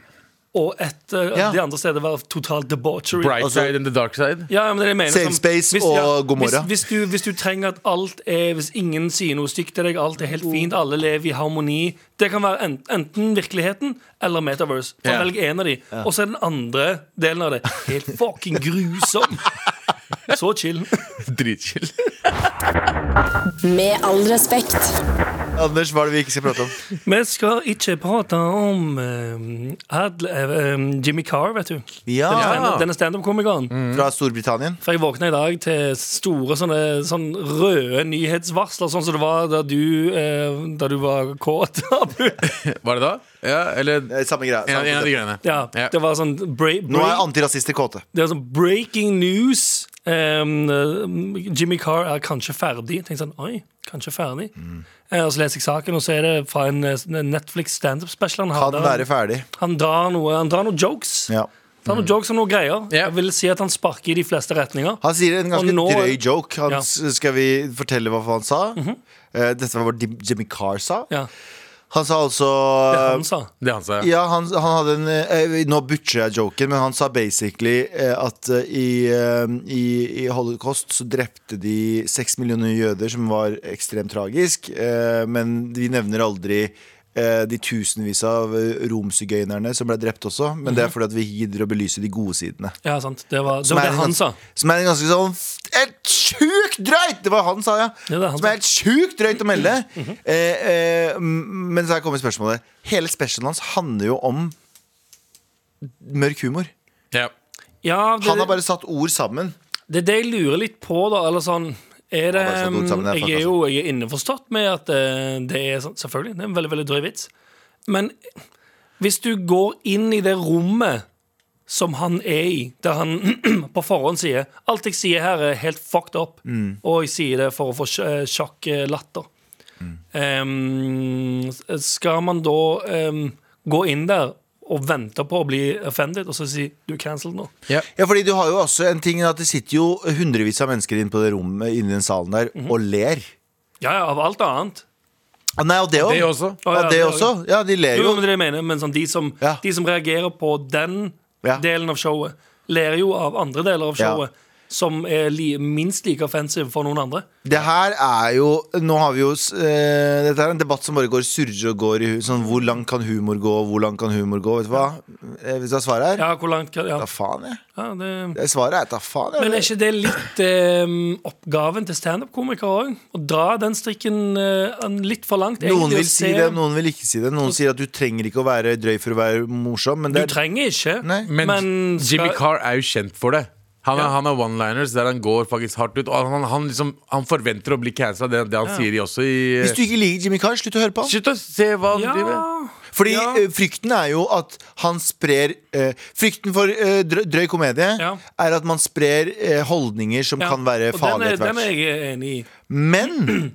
[SPEAKER 3] og ett eh,
[SPEAKER 2] Ja.
[SPEAKER 3] de andre stedene være totalt debauchery?
[SPEAKER 4] Bright
[SPEAKER 2] Altså-
[SPEAKER 4] side and the dark side.
[SPEAKER 3] Ja, men det er det jeg mener,
[SPEAKER 2] Safe
[SPEAKER 3] som-
[SPEAKER 2] space og god morgen.
[SPEAKER 3] Hvis, hvis, du, hvis du trenger at alt er Hvis ingen sier noe stygt til deg, alt er helt fint, alle lever i harmoni Det kan være en, enten virkeligheten eller Metaverse. Og
[SPEAKER 4] Ja.
[SPEAKER 3] Velg en av de. Og så er den andre delen av det helt fucking grusom. Så chill.
[SPEAKER 4] Dritchill.
[SPEAKER 6] Med all respekt.
[SPEAKER 2] Anders, hva er det vi ikke skal prate om?
[SPEAKER 3] Vi skal ikke prate om eh, Adl, eh, Jimmy Carr, vet du.
[SPEAKER 2] Ja,
[SPEAKER 3] Denne- Denne standup-komikeren.
[SPEAKER 2] Fra Storbritannia.
[SPEAKER 3] For jeg våkna i dag til store sånne, sånn røde nyhetsvarsler, sånn som det var da du, eh, da du var kåt. Abu.
[SPEAKER 4] Var det da? Ja, eller
[SPEAKER 2] Eh, Samme greia.
[SPEAKER 4] en, en
[SPEAKER 2] samme
[SPEAKER 4] av de
[SPEAKER 2] konsept.
[SPEAKER 4] greiene.
[SPEAKER 3] ja,
[SPEAKER 4] Ja.
[SPEAKER 3] det var sånn, bre
[SPEAKER 2] Nå er
[SPEAKER 3] bre
[SPEAKER 2] antirasister kåte.
[SPEAKER 3] det var sånn breaking news. Ehm, eh, Jimmy Carr er kanskje ferdig. Tenk sånn, oi, kanskje ferdig
[SPEAKER 2] Mm.
[SPEAKER 3] Eh, Og så leser jeg saken, og så er det fra en eh, Netflix standup-special. Han,
[SPEAKER 2] Kan
[SPEAKER 3] drar-
[SPEAKER 2] være ferdig.
[SPEAKER 3] han, drar noe- han drar noen jokes.
[SPEAKER 2] Ja.
[SPEAKER 3] Han drar noen jokes og noen greier.
[SPEAKER 4] Ja.
[SPEAKER 3] Jeg vil si at han sparker i de fleste retninger.
[SPEAKER 2] Han sier en ganske
[SPEAKER 3] Og nå-
[SPEAKER 2] drøy joke. Han,
[SPEAKER 3] Ja. Mhm.
[SPEAKER 2] s- Skal vi fortelle hva han sa? Eh, Dette var hva Jim- Jimmy Carr sa.
[SPEAKER 3] Ja,
[SPEAKER 2] Han sa altså
[SPEAKER 3] det han sa.
[SPEAKER 4] Det han sa.
[SPEAKER 2] Ja, han, han hadde en eh, Nå butcher jeg joken, men han sa basically eh, at eh, i, eh, i, i holocaust så drepte de seks millioner jøder, som var ekstremt tragisk, eh, men vi nevner aldri eh, de tusenvis av eh, romsigøynerne som ble drept også, men det er fordi at vi gidder å belyse de gode sidene.
[SPEAKER 3] Ja, sant. Det var det,
[SPEAKER 2] Som er
[SPEAKER 3] var det
[SPEAKER 2] en
[SPEAKER 3] han
[SPEAKER 2] gans-
[SPEAKER 3] sa.
[SPEAKER 2] Som er en ganske sånn f- Helt sjukt drøyt! Det var han, sa jeg.
[SPEAKER 3] Ja, det er han
[SPEAKER 2] som
[SPEAKER 3] sa.
[SPEAKER 2] er helt sjukt drøyt å melde. eh, eh, m- men så her kommer spørsmålet. Hele specialen hans handler jo om mørk humor.
[SPEAKER 4] Ja.
[SPEAKER 3] Ja,
[SPEAKER 2] Han har
[SPEAKER 3] det,
[SPEAKER 2] bare satt ord sammen.
[SPEAKER 3] det er det jeg lurer litt på, da. Eller sånn er det,
[SPEAKER 2] Ja, bare satt ord sammen, det er
[SPEAKER 3] Jeg er jo jeg er innforstått med at eh, det er sånn Selvfølgelig, det er en veldig, veldig drøy vits. Men hvis du går inn i det rommet som han er i, der han på forhånd sier Alt jeg sier her, er helt fucked up,
[SPEAKER 2] Mm.
[SPEAKER 3] og jeg sier det for å få sj- eh, sjakk eh, latter.
[SPEAKER 2] Mm.
[SPEAKER 3] Ehm, skal man da ehm, gå inn der og vente på å bli offended, og så si 'du er cancelled nå'?
[SPEAKER 4] Ja.
[SPEAKER 2] Ja, fordi du har jo også en ting at Det sitter jo hundrevis av mennesker inne på det rommet Inne i den salen der og ler.
[SPEAKER 3] Ja, ja, av alt annet.
[SPEAKER 2] Ah, Nei, og det
[SPEAKER 4] Det
[SPEAKER 2] òg.
[SPEAKER 4] også.
[SPEAKER 2] Ja, det også. Ja, de ler
[SPEAKER 3] Jo,
[SPEAKER 2] jo.
[SPEAKER 3] men det er det jeg mener, men sånn, de, som,
[SPEAKER 2] Ja.
[SPEAKER 3] de som reagerer på den
[SPEAKER 2] Ja.
[SPEAKER 3] delen av showet, ler jo av andre deler av
[SPEAKER 2] Ja.
[SPEAKER 3] showet som er li, minst like offensive for noen andre.
[SPEAKER 2] Det her er jo Nå har vi jo eh, Dette er en debatt som bare går surrer og går i hu- Sånn, hvor langt kan humor gå, hvor langt kan humor gå Vet du hva? Eh, Hvis du har svaret her
[SPEAKER 3] Ja, hvor langt kan Ja,
[SPEAKER 2] Da faen jeg
[SPEAKER 3] ja det
[SPEAKER 2] Det Svaret er da faen jeg
[SPEAKER 3] men er ikke det litt eh, oppgaven til standup-komikere òg? Å dra den strikken eh, litt for langt?
[SPEAKER 2] Noen
[SPEAKER 3] egentlig, og
[SPEAKER 2] vil si
[SPEAKER 3] se-
[SPEAKER 2] det, noen vil ikke si det Noen sier at du trenger ikke å være drøy for å være morsom Men
[SPEAKER 3] Du
[SPEAKER 2] det er
[SPEAKER 3] trenger ikke.
[SPEAKER 2] Nei.
[SPEAKER 4] Men,
[SPEAKER 3] Men skal-
[SPEAKER 4] Jimmy Carr er jo kjent for det. Han, er- han har one-liners der han går faktisk hardt ut. Og han, han, liksom, han forventer å bli cancela. Det, det han sier i også i
[SPEAKER 2] Hvis du ikke liker Jimmy Carr, slutt å høre på han
[SPEAKER 4] Slutt å se hva han
[SPEAKER 3] Ja.
[SPEAKER 4] driver
[SPEAKER 2] Fordi
[SPEAKER 3] Ja.
[SPEAKER 2] eh, frykten er jo at han sprer eh, Frykten for eh, drø drøy komedie
[SPEAKER 3] Ja.
[SPEAKER 2] Er at man sprer eh, holdninger som
[SPEAKER 3] Ja,
[SPEAKER 2] kan være
[SPEAKER 3] og den
[SPEAKER 2] farlige
[SPEAKER 3] er,
[SPEAKER 2] etter hvert
[SPEAKER 3] den er jeg enig i.
[SPEAKER 2] Men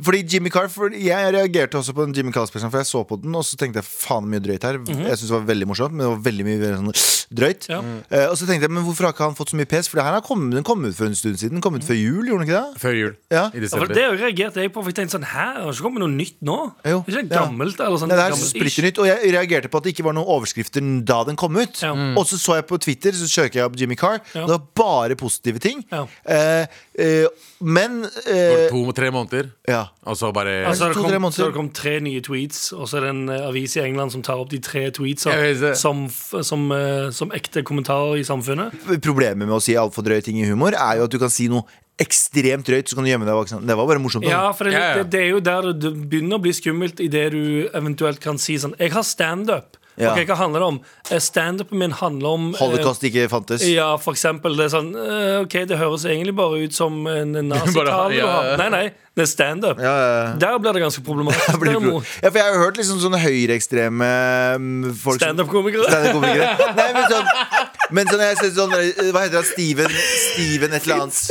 [SPEAKER 2] fordi Jimmy Carr, for Jeg reagerte også på den Jimmy Carr-spesialen, for jeg så på den, og så tenkte jeg faen mye drøyt her. Jeg synes det var veldig morsomt, men det var veldig mye sånn, drøyt.
[SPEAKER 3] Mhm. Ja.
[SPEAKER 2] Eh, og så tenkte jeg, men hvorfor har ikke han fått så mye pes? For det her har kommet, den kom ut for en stund siden. Den kom ut før jul, gjorde den ikke det?
[SPEAKER 4] Før jul.
[SPEAKER 2] Ja.
[SPEAKER 4] I
[SPEAKER 3] Ja, for
[SPEAKER 4] desember.
[SPEAKER 3] det reagerte jeg på. For jeg tenkte sånn, Hæ, det har ikke kommet noe nytt nå?
[SPEAKER 2] Jo,
[SPEAKER 3] Det er ikke
[SPEAKER 2] ja.
[SPEAKER 3] gammelt eller sånn
[SPEAKER 2] Nei, det her er
[SPEAKER 3] gammelt-ish.
[SPEAKER 2] splitter nytt, og jeg reagerte på at det ikke var noen overskrifter da den kom ut. Mm.
[SPEAKER 3] Ja.
[SPEAKER 2] Og så så jeg på Twitter, så søker jeg opp Jimmy Carr.
[SPEAKER 3] Ja.
[SPEAKER 2] Det var bare positive ting.
[SPEAKER 3] Ja.
[SPEAKER 2] Eh, eh, men
[SPEAKER 4] For
[SPEAKER 2] eh,
[SPEAKER 4] To-tre måneder,
[SPEAKER 2] Ja.
[SPEAKER 4] og så bare
[SPEAKER 3] Ja, så har Altså, det
[SPEAKER 2] To-tre
[SPEAKER 3] kom,
[SPEAKER 2] måneder.
[SPEAKER 3] så har det kom tre nye tweets, og så er det en eh, avis i England som tar opp de tre tweetsa
[SPEAKER 4] Jeg vet det.
[SPEAKER 3] som, f- som, eh, som ekte kommentarer i samfunnet.
[SPEAKER 2] problemet med å si altfor drøye ting i humor, er jo at du kan si noe ekstremt drøyt, så kan du gjemme deg bak sånn. Det var bare morsomt. da.
[SPEAKER 3] Ja, for det,
[SPEAKER 4] Ja, ja.
[SPEAKER 3] det, det er jo der det begynner å bli skummelt, idet du eventuelt kan si sånn Jeg har standup.
[SPEAKER 2] Ja.
[SPEAKER 3] Ok, hva handler det om? Eh, Standupen min handler om eh,
[SPEAKER 2] Sånn Holocaust ikke fantes.
[SPEAKER 3] Ja, for eksempel. Det er sånn eh, OK, det høres egentlig bare ut som en nazitale. du
[SPEAKER 4] ja,
[SPEAKER 3] har.
[SPEAKER 4] ja.
[SPEAKER 3] Nei, nei, det er standup.
[SPEAKER 2] Ja, ja, ja.
[SPEAKER 3] Der blir det ganske problematisk.
[SPEAKER 2] Blir det pro-
[SPEAKER 3] derimot.
[SPEAKER 2] ja, for jeg har jo hørt liksom sånne høyreekstreme mm, folk som-
[SPEAKER 3] Standup-komikere.
[SPEAKER 2] Standup-komikere. Nei, men sånn men sånn, jeg ser sånn eh, Hva heter han? Steven Steven et eller annet.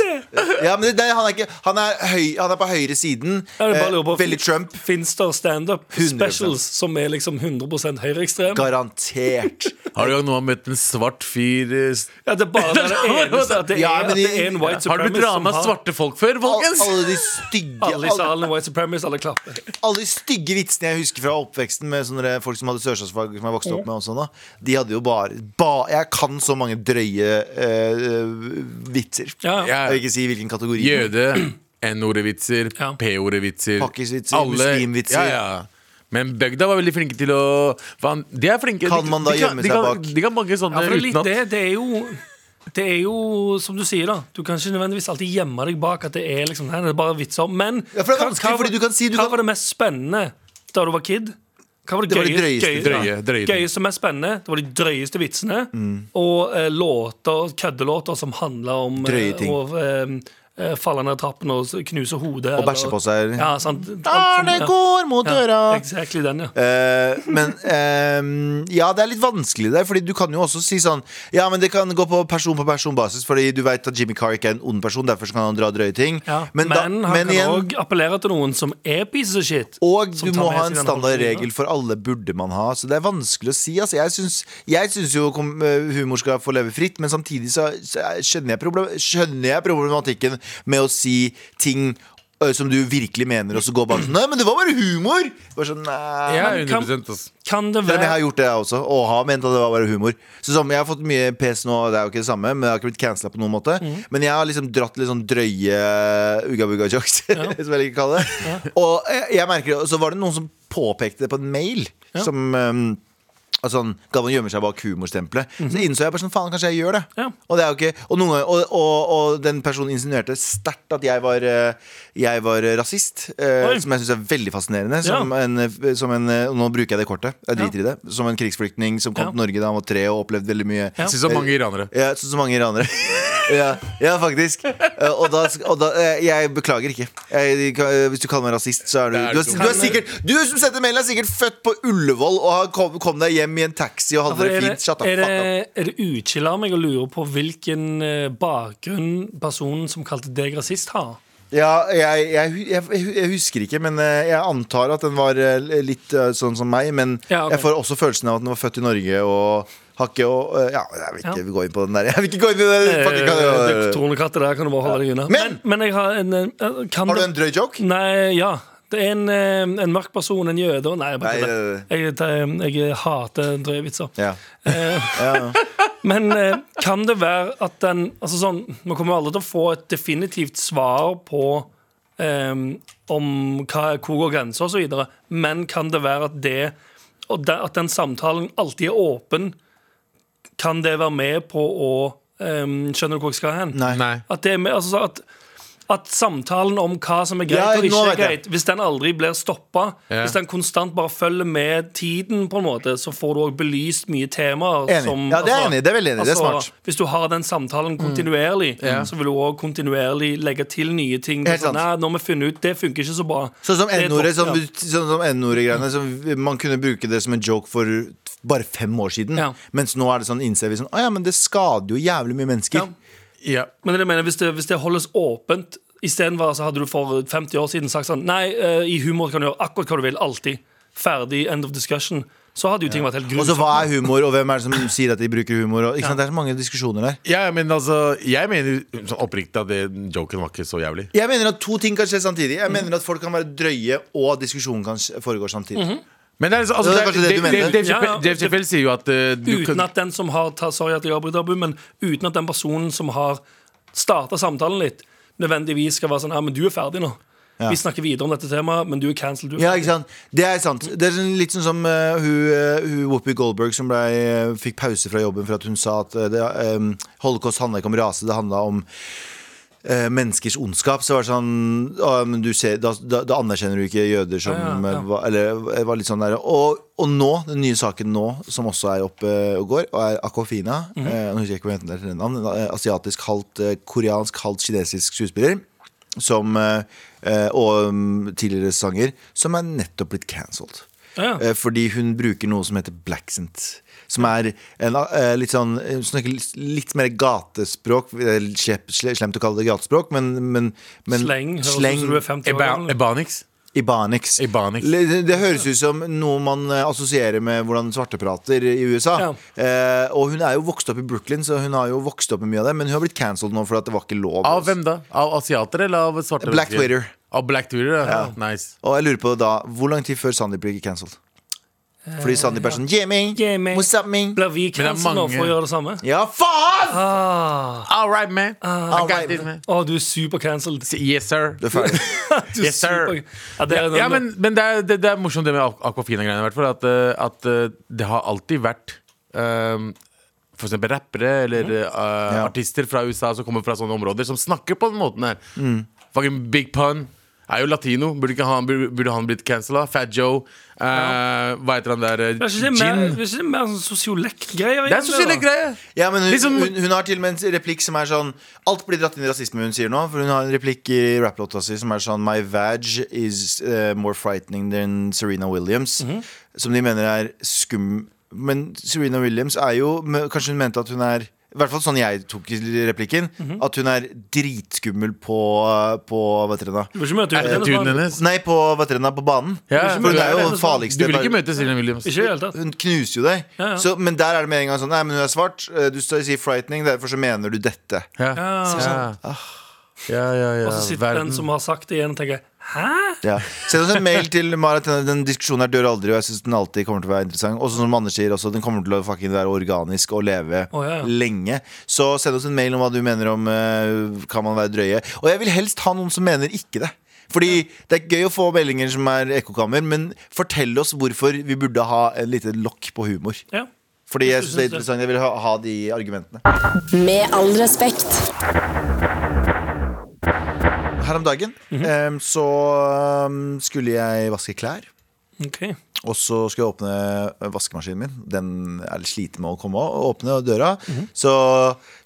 [SPEAKER 2] Ja, men det, nei, han er ikke Han er, høy, han er på høyre siden.
[SPEAKER 3] Jeg bare
[SPEAKER 2] Eh,
[SPEAKER 3] lurer på,
[SPEAKER 2] veldig Trump.
[SPEAKER 3] Fins det standup
[SPEAKER 2] 100%.
[SPEAKER 3] specials som er liksom 100 høyreekstrem?
[SPEAKER 2] Garantert.
[SPEAKER 4] Har du gang noen gang møtt en svart fyr eh, s-
[SPEAKER 3] Ja, det er bare det, er det eneste at det er,
[SPEAKER 2] Ja, men
[SPEAKER 3] at det
[SPEAKER 2] i-
[SPEAKER 3] er en white
[SPEAKER 4] Har du blitt
[SPEAKER 3] supremacist som
[SPEAKER 4] rana av
[SPEAKER 3] har
[SPEAKER 4] svarte folk før,
[SPEAKER 2] Al,
[SPEAKER 4] folkens?
[SPEAKER 2] alle de stygge
[SPEAKER 3] alle i
[SPEAKER 2] alle-
[SPEAKER 3] salen er white supremacist, alle klapper.
[SPEAKER 2] alle de stygge vitsene jeg husker fra oppveksten med sånne der folk som hadde sørstatsfag, som jeg vokste opp med, og sånn da, de hadde jo bare ba, Jeg kan så mange drøye eh, vitser.
[SPEAKER 3] Ja.
[SPEAKER 4] Ja.
[SPEAKER 2] Jeg vil ikke si hvilken kategori.
[SPEAKER 4] Jøde, N-ordevitser,
[SPEAKER 3] Ja.
[SPEAKER 4] P-ordevitser
[SPEAKER 2] Pakkisvitser,
[SPEAKER 4] alle-
[SPEAKER 2] muslimvitser.
[SPEAKER 4] ja, ja. Men bygda var veldig flinke til å faen, De er flinke
[SPEAKER 2] Kan man da
[SPEAKER 4] de, de kan-
[SPEAKER 2] gjemme
[SPEAKER 4] de
[SPEAKER 2] seg
[SPEAKER 4] kan,
[SPEAKER 2] bak?
[SPEAKER 4] De kan mange
[SPEAKER 3] Ja,
[SPEAKER 4] sånne
[SPEAKER 3] for det, er litt
[SPEAKER 4] uten at
[SPEAKER 3] det, det er jo det er jo som du sier, da. Du kan ikke nødvendigvis alltid gjemme deg bak at det er liksom Nei, det er bare vitser. Men
[SPEAKER 2] Ja, for det er
[SPEAKER 3] hva-
[SPEAKER 2] vanskelig,
[SPEAKER 3] hva var-
[SPEAKER 2] fordi du kan si- du
[SPEAKER 3] Hva
[SPEAKER 2] kan-
[SPEAKER 3] var det mest spennende da du var kid? Hva var det,
[SPEAKER 2] Det var de
[SPEAKER 3] gøye-
[SPEAKER 2] drøyeste-
[SPEAKER 3] gøye-
[SPEAKER 4] drøye- drøye ting.
[SPEAKER 3] gøyeste og mest spennende? Det var de drøyeste
[SPEAKER 2] Mm.
[SPEAKER 3] vitsene. Og eh, låter, køddelåter som handla om eh,
[SPEAKER 2] Drøye ting.
[SPEAKER 3] Og, eh, eh, falle ned trappen og s- knuse hodet.
[SPEAKER 2] Og bæsje
[SPEAKER 3] eller-
[SPEAKER 2] på seg.
[SPEAKER 3] Ja, sant.
[SPEAKER 2] Arne
[SPEAKER 3] Ja.
[SPEAKER 2] går mot døra!
[SPEAKER 3] Ja, exactly den, ja.
[SPEAKER 2] Eh, men eh, ja, det er litt vanskelig der, Fordi du kan jo også si sånn Ja, men det kan gå på person på person basis, Fordi du vet at Jimmy Carrick er en ond person, derfor så kan han dra drøye ting.
[SPEAKER 3] ja. Men,
[SPEAKER 2] men, da,
[SPEAKER 3] han
[SPEAKER 2] men
[SPEAKER 3] kan
[SPEAKER 2] igjen
[SPEAKER 3] også appellere til noen som er pieces of shit.
[SPEAKER 2] og
[SPEAKER 3] som
[SPEAKER 2] du
[SPEAKER 3] tar
[SPEAKER 2] må
[SPEAKER 3] med
[SPEAKER 2] ha
[SPEAKER 3] seg
[SPEAKER 2] en
[SPEAKER 3] den
[SPEAKER 2] standardregel for alle burde man ha. Så det er vanskelig å si. Altså, jeg syns, jeg syns jo kom, eh, humor skal få leve fritt, men samtidig så, så er- skjønner, jeg problem, skjønner jeg problematikken med å si ting eh, som du virkelig mener, og så går bare sånn Nei, men det var bare humor! Bare sånn, nei
[SPEAKER 4] Ja,
[SPEAKER 3] men kan-
[SPEAKER 4] 100 ass.
[SPEAKER 3] Kan det
[SPEAKER 2] selv om jeg har
[SPEAKER 3] være
[SPEAKER 2] gjort det jeg også, og har ment at det var bare humor. Så som, Jeg har fått mye pes nå, det er jo ikke det samme, men jeg har ikke blitt cancela på noen måte. Men jeg har liksom dratt litt sånn drøye ugga-bugga-jokes, som jeg liker å kalle det. Og jeg, jeg merker, det, og så var det noen som påpekte det på en mail. Som um, altså, sånn, Galvan gjemmer seg bak humorstempelet. Så innså jeg bare sånn, faen, kanskje jeg gjør det.
[SPEAKER 3] Ja.
[SPEAKER 2] Og, det er jo ikke, og, noen ganger, og, og, og den personen insinuerte sterkt at jeg var, eh, jeg var eh, rasist. eh,
[SPEAKER 3] Oi.
[SPEAKER 2] som jeg syns er veldig fascinerende. Som en, eh, som en, eh, og nå bruker jeg det kortet. Jeg driter i det. Som en krigsflyktning som kom
[SPEAKER 3] Ja.
[SPEAKER 2] til Norge da han var tre og opplevde veldig mye. Eh,
[SPEAKER 3] Ja.
[SPEAKER 4] Jeg synes det er mange iranere.
[SPEAKER 2] Ja, så, så mange iranere. ja, ja, faktisk. Eh, Og da, og da eh, Jeg beklager ikke. Jeg, eh, hvis du kaller meg rasist, så er du
[SPEAKER 4] Det er
[SPEAKER 2] du,
[SPEAKER 4] dumt.
[SPEAKER 2] er, du, er sikkert, du som sendte mailen, er sikkert født på Ullevål og har kom, kom deg hjem i en taxi og hadde det
[SPEAKER 3] Altså, er
[SPEAKER 2] fint.
[SPEAKER 3] det,
[SPEAKER 2] Shut the
[SPEAKER 3] er
[SPEAKER 2] fuck up.
[SPEAKER 3] det, er det utskill av meg å lure på hvilken eh, bakgrunn personen som kalte deg rasist, har?
[SPEAKER 2] Ja, jeg, jeg, hu- jeg, hu- jeg husker ikke, men eh, jeg antar at den var eh, litt eh, sånn som meg. Men
[SPEAKER 3] Ja, ok.
[SPEAKER 2] jeg får også følelsen av at den var født i Norge og har ikke og, eh, Ja, jeg vil
[SPEAKER 3] Ja.
[SPEAKER 2] ikke gå inn på den der. Jeg vil ikke gå inn i den fucking
[SPEAKER 3] Eh,
[SPEAKER 2] kan-
[SPEAKER 3] Tornekrattet der kan du bare holde deg unna.
[SPEAKER 2] Men-
[SPEAKER 3] men, jeg har en eh, kan
[SPEAKER 2] Har du
[SPEAKER 3] det-
[SPEAKER 2] en drøy joke?
[SPEAKER 3] Nei, ja. Det er en, eh, en mørk person, en jøde og- Nei, jeg, bare
[SPEAKER 2] Nei,
[SPEAKER 3] kødder. jeg, jeg, jeg hater drøye vitser.
[SPEAKER 2] Ja.
[SPEAKER 3] Eh. Men eh, kan det være at den altså sånn, Vi kommer jo aldri til å få et definitivt svar på eh, om hva, hvor går grensa osv., men kan det være at det og de, At den samtalen alltid er åpen, kan det være med på å eh, Skjønner du hvor jeg skal hen?
[SPEAKER 2] Nei.
[SPEAKER 4] Nei.
[SPEAKER 3] At, det er med, altså, så at, at samtalen om hva som er greit
[SPEAKER 2] Ja, nå
[SPEAKER 3] og ikke er
[SPEAKER 2] vet jeg.
[SPEAKER 3] greit, hvis den aldri blir stoppa,
[SPEAKER 4] Ja.
[SPEAKER 3] hvis den konstant bare følger med tiden, på en måte, så får du òg belyst mye temaer. altså,
[SPEAKER 2] Enig. Ja, det er enig. Det er veldig enig. Det er smart. Mm.
[SPEAKER 3] Hvis du har den samtalen kontinuerlig,
[SPEAKER 4] Ja.
[SPEAKER 3] så vil du òg kontinuerlig legge til nye ting.
[SPEAKER 2] Helt sant.
[SPEAKER 3] Sånn, Nei, nå har vi funnet ut, det funker ikke så bra.
[SPEAKER 2] Sånn som
[SPEAKER 3] Det er
[SPEAKER 2] N-ordet.
[SPEAKER 3] topp,
[SPEAKER 2] Sånn,
[SPEAKER 3] ja.
[SPEAKER 2] sånn som N-ordet-greiene. som Man kunne bruke det som en joke for bare fem år siden.
[SPEAKER 3] Ja.
[SPEAKER 2] Mens nå er det sånn innser vi sånn Å ja, men det skader jo jævlig mye mennesker.
[SPEAKER 3] Ja.
[SPEAKER 4] Ja.
[SPEAKER 3] Men jeg mener, hvis det, hvis det holdes åpent Istedenfor så hadde du for 50 år siden sagt sånn Nei, eh, i humor kan du gjøre akkurat hva du vil, alltid. Ferdig, end of discussion. Så hadde jo ting vært helt
[SPEAKER 2] Og så
[SPEAKER 3] grusomt.
[SPEAKER 2] hva er humor, og hvem er det som sier at de bruker humor? Og, ikke sant? Det er så mange diskusjoner der.
[SPEAKER 4] ja, men altså Jeg mener sånn oppriktig at det, joken var ikke så jævlig.
[SPEAKER 2] Jeg mener at to ting kan skje samtidig. Jeg
[SPEAKER 3] Mhm.
[SPEAKER 2] mener at Folk kan være drøye, og diskusjonen kan skje- foregå samtidig.
[SPEAKER 3] Mhm.
[SPEAKER 4] Men det er, altså,
[SPEAKER 2] Det
[SPEAKER 4] det
[SPEAKER 2] er kanskje det du
[SPEAKER 4] Dave-
[SPEAKER 2] mener.
[SPEAKER 4] Dave
[SPEAKER 3] Ja,
[SPEAKER 4] Chappelle
[SPEAKER 3] ja.
[SPEAKER 4] Dave Chappelle sier jo at eh, du
[SPEAKER 3] Uten
[SPEAKER 4] kan-
[SPEAKER 3] at den som har ta, Sorry at jeg avbryter, Abu, men uten at den personen som har starta samtalen litt, nødvendigvis skal være sånn Ja, men du er ferdig nå. Vi snakker videre om dette temaet, men du er cancelled. Du er
[SPEAKER 2] Ja,
[SPEAKER 3] ferdig.»
[SPEAKER 2] ikke sant? Det er sant. Det er sånn, litt sånn som eh, hun, eh, hun Whoopi Goldberg som ble, eh, fikk pause fra jobben for at hun sa at eh, det, eh, holocaust handla ikke om rase, det handla om eh, menneskers ondskap. Så var det sånn «Å, men du ser, da, da, da anerkjenner du ikke jøder som
[SPEAKER 3] Ja, ja, ja.
[SPEAKER 2] eh, var- Eller eh, var litt sånn der. Og, og nå, den nye saken nå, som også er oppe eh, og går, og er Aquafina.
[SPEAKER 3] Mhm.
[SPEAKER 2] eh, Nå husker jeg ikke hva jenten heter, navn, en, eh, asiatisk, halvt eh, koreansk, halvt kinesisk skuespiller. Som, eh, eh, og mm, tidligere sanger, som er nettopp blitt cancelled.
[SPEAKER 3] Ja.
[SPEAKER 2] Eh, Fordi hun bruker noe som heter blacksint. Som er en, eh, litt sånn Hun snakker litt, litt mer gatespråk. Det er slep- sle- Slemt å kalle det gatespråk, men, men, men
[SPEAKER 3] Sleng. høres ut som
[SPEAKER 2] sleng
[SPEAKER 3] du er 50 år
[SPEAKER 4] Eba,
[SPEAKER 3] gammel.
[SPEAKER 4] Ebonics.
[SPEAKER 2] Ibanics.
[SPEAKER 4] Ebonics.
[SPEAKER 2] Le- Det, det høres ut som noe man eh, assosierer med hvordan svarte prater i USA. Eh, og hun er jo vokst opp i Brooklyn, så hun har jo vokst opp med mye av det. Men hun har blitt cancelled nå fordi at det var ikke lov.
[SPEAKER 4] Av hvem da? Av asiater eller av svarte?
[SPEAKER 2] Black
[SPEAKER 4] mennesker?
[SPEAKER 2] Twitter.
[SPEAKER 4] Av Black Twitter, ja. Nice.
[SPEAKER 2] Og jeg lurer på da, hvor lang tid før Sandeep blir cancelled? Fordi Sandeep er sånn
[SPEAKER 4] Eh,
[SPEAKER 2] Yeah, man.
[SPEAKER 3] Yeah, man.
[SPEAKER 2] What's up, man?
[SPEAKER 3] Blir vi
[SPEAKER 4] Men det er
[SPEAKER 3] cancelled nå
[SPEAKER 4] mange-
[SPEAKER 3] for å gjøre det samme?
[SPEAKER 2] Ja, faen!
[SPEAKER 3] Ah,
[SPEAKER 4] All right, man. I got
[SPEAKER 2] right,
[SPEAKER 4] this,
[SPEAKER 2] man.
[SPEAKER 4] man.
[SPEAKER 3] å, du er super-cancelled.
[SPEAKER 4] Yes, sir.
[SPEAKER 2] Du er ferdig.
[SPEAKER 3] Du er
[SPEAKER 4] Yes, sir.
[SPEAKER 3] super- Ja, det er
[SPEAKER 4] Ja, men, men det, er, det, det er morsomt det med Aqu- Aquafina-greiene. i hvert fall, At, eh, at eh, det har alltid vært ehm, for eksempel rappere eller eh,
[SPEAKER 3] Mm.
[SPEAKER 2] Mm.
[SPEAKER 4] artister fra USA som kommer fra sånne områder, som snakker på den måten her. Fucking big pun. er jo latino. Burde, ikke han, burde burde han blitt cancela? Fat Joe. eh, Hva heter han der?
[SPEAKER 3] Det er ikke det mer, det er ikke det mer sånn sosiolekt-greier?
[SPEAKER 4] Det er sosiale greier.
[SPEAKER 2] Ja, men hun,
[SPEAKER 4] Liksom-
[SPEAKER 2] hun, hun har til og med en replikk som er sånn Alt blir dratt inn i rasisme hun sier nå For hun har en replikk i rapplåta si som er sånn My vag is eh, more frightening than Serena Williams
[SPEAKER 4] Mhm.
[SPEAKER 2] Som de mener er skum Men Serena Williams er jo men Kanskje hun mente at hun er i hvert fall sånn jeg tok i replikken
[SPEAKER 4] Mhm.
[SPEAKER 2] At hun er dritskummel på, på Hva heter det da?
[SPEAKER 3] Du vil ikke møte henne.
[SPEAKER 4] Attituden
[SPEAKER 3] Ikke
[SPEAKER 4] Eh, hennes.
[SPEAKER 2] Nei, på, hva heter det da? På banen For
[SPEAKER 4] Ja,
[SPEAKER 2] hun er jo
[SPEAKER 3] men-
[SPEAKER 2] den farligste
[SPEAKER 4] sånn Du vil ikke møte Silje Williams.
[SPEAKER 3] i det hele tatt.
[SPEAKER 2] hun knuser jo deg.
[SPEAKER 3] Ja, ja.
[SPEAKER 2] Så, men der er det med en gang sånn Nei, men hun er svart. eh, Du står- sier 'frightening', derfor så mener du dette.
[SPEAKER 4] Ja. sånn.
[SPEAKER 3] Ja.
[SPEAKER 4] Ja. Ja, ja, ja.
[SPEAKER 3] Og så sitter den som har sagt det igjen, og tenker Hæ?
[SPEAKER 2] Ja. Send oss en mail til Marit. Den, den diskusjonen her dør aldri, og jeg syns den alltid kommer til å være interessant. Og sånn som Anders sier også, den kommer til å fucking være organisk og leve
[SPEAKER 3] Å, ja, ja.
[SPEAKER 2] lenge. Så send oss en mail om hva du mener om eh, Kan man være drøye. Og jeg vil helst ha noen som mener ikke det. Fordi Det er gøy å få meldinger som er ekkokammer, men fortell oss hvorfor vi burde ha et lite lokk på humor.
[SPEAKER 3] Ja.
[SPEAKER 2] Fordi jeg synes det er
[SPEAKER 3] du synes det.
[SPEAKER 2] interessant. Jeg vil ha, ha de argumentene.
[SPEAKER 6] Med all respekt.
[SPEAKER 2] Her om dagen em, så em, skulle jeg vaske klær.
[SPEAKER 3] OK.
[SPEAKER 2] Og så skulle jeg åpne vaskemaskinen min. Den er litt sliten med å komme og åpne døra. Så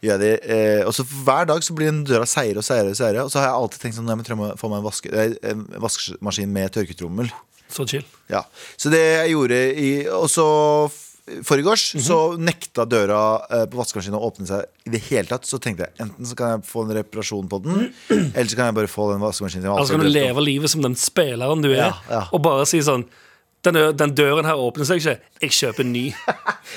[SPEAKER 2] gjør jeg det eh, Og så hver dag så blir den døra seigere og seigere. Og seigere Og så har jeg alltid tenkt sånn Nei, men tror jeg må få meg en, vaske, eh, en vaskemaskin med tørketrommel.
[SPEAKER 3] Så chill.
[SPEAKER 2] Ja, så det jeg gjorde i, Og så f- foregårs
[SPEAKER 3] Mhm.
[SPEAKER 2] Så nekta døra eh, på vaskemaskinen Å åpne seg i det hele tatt Så tenkte jeg, enten så kan jeg få en reparasjon på den Eller så kan jeg bare få den vaskemaskinen
[SPEAKER 3] Eller så Altså, kan du leve livet som den spilleren du er,
[SPEAKER 2] Ja, ja.
[SPEAKER 3] og bare si sånn den, ø- den døren her åpner seg ikke. Jeg kjøper en ny.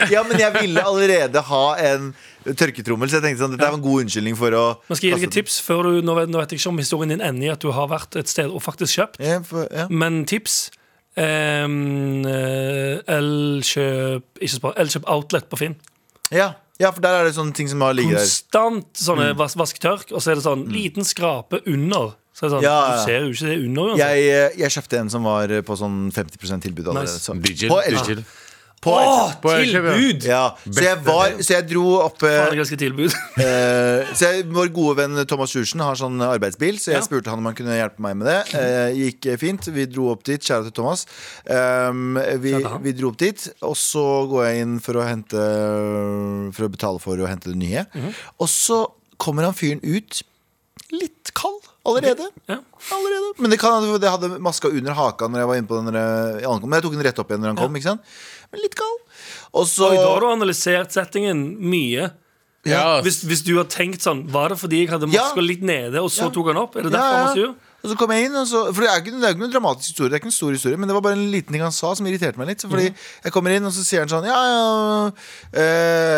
[SPEAKER 2] Ja, men jeg ville allerede ha en tørketrommel Så jeg tenkte sånn, dette er en god unnskyldning for å
[SPEAKER 3] Nå skal jeg gi deg et
[SPEAKER 2] kaste den.
[SPEAKER 3] tips før du, Nå vet, nå vet jeg ikke om historien din ender i at du har vært et sted og faktisk kjøpt,
[SPEAKER 2] ja, for, ja.
[SPEAKER 3] men tips ehm, eh, Elkjøp Ikke spør. Elkjøp Outlet på Finn.
[SPEAKER 2] Ja. ja, for der er det sånne ting som har ligget der
[SPEAKER 3] Konstant sånne
[SPEAKER 2] Mm.
[SPEAKER 3] vas vask-tørk, og så er det sånn liten skrape under. Så er det sånn,
[SPEAKER 2] Ja, ja.
[SPEAKER 3] Du ser jo ikke det under uansett.
[SPEAKER 2] jeg, eh, jeg kjøpte en som var eh, på sånn 50% tilbud allerede
[SPEAKER 3] Nice.
[SPEAKER 2] så.
[SPEAKER 4] Digil.
[SPEAKER 2] På Elkjøp.
[SPEAKER 4] Digil.
[SPEAKER 2] På
[SPEAKER 3] Åh,
[SPEAKER 2] Elkjøp.
[SPEAKER 4] På Elkjøp, ja.
[SPEAKER 3] tilbud!
[SPEAKER 2] ja, så jeg, var, så jeg dro opp eh,
[SPEAKER 3] Faen, jeg elsker tilbud.
[SPEAKER 2] Eh, så jeg, Vår gode venn Thomas Sjursen har sånn arbeidsbil, så jeg
[SPEAKER 3] Ja.
[SPEAKER 2] spurte han om han kunne hjelpe meg med det. Eh, gikk fint. Vi dro opp dit. Kjære til Thomas. Um, vi,
[SPEAKER 3] Kjære til han.
[SPEAKER 2] vi dro opp dit, og så går jeg inn for å, hente, for å betale for å hente det nye.
[SPEAKER 3] Mhm.
[SPEAKER 2] Og så kommer han fyren ut litt kald allerede.
[SPEAKER 3] Ja.
[SPEAKER 2] allerede. Men det, kan, det hadde maska under haka når jeg var inne på den der- i ankom. Men jeg tok den rett opp igjen når han kom. ikke sant? Men litt kald. Og så
[SPEAKER 3] Oi, da har du analysert settingen mye.
[SPEAKER 4] Ja,
[SPEAKER 3] Hvis, hvis du har tenkt sånn Var det fordi jeg hadde
[SPEAKER 2] Ja.
[SPEAKER 3] maska litt nede, og så
[SPEAKER 2] Ja.
[SPEAKER 3] tok han opp? Er det derfor
[SPEAKER 2] Ja,
[SPEAKER 3] han
[SPEAKER 2] ja.
[SPEAKER 3] var sur?
[SPEAKER 2] Og så kom jeg inn, og så, for det er, ikke, det er ikke noen dramatisk historie, det er ikke en stor historie, men det var bare en liten ting han sa som irriterte meg litt. Så Fordi
[SPEAKER 3] Mhm.
[SPEAKER 2] jeg kommer inn, og så sier han sånn Ja, ja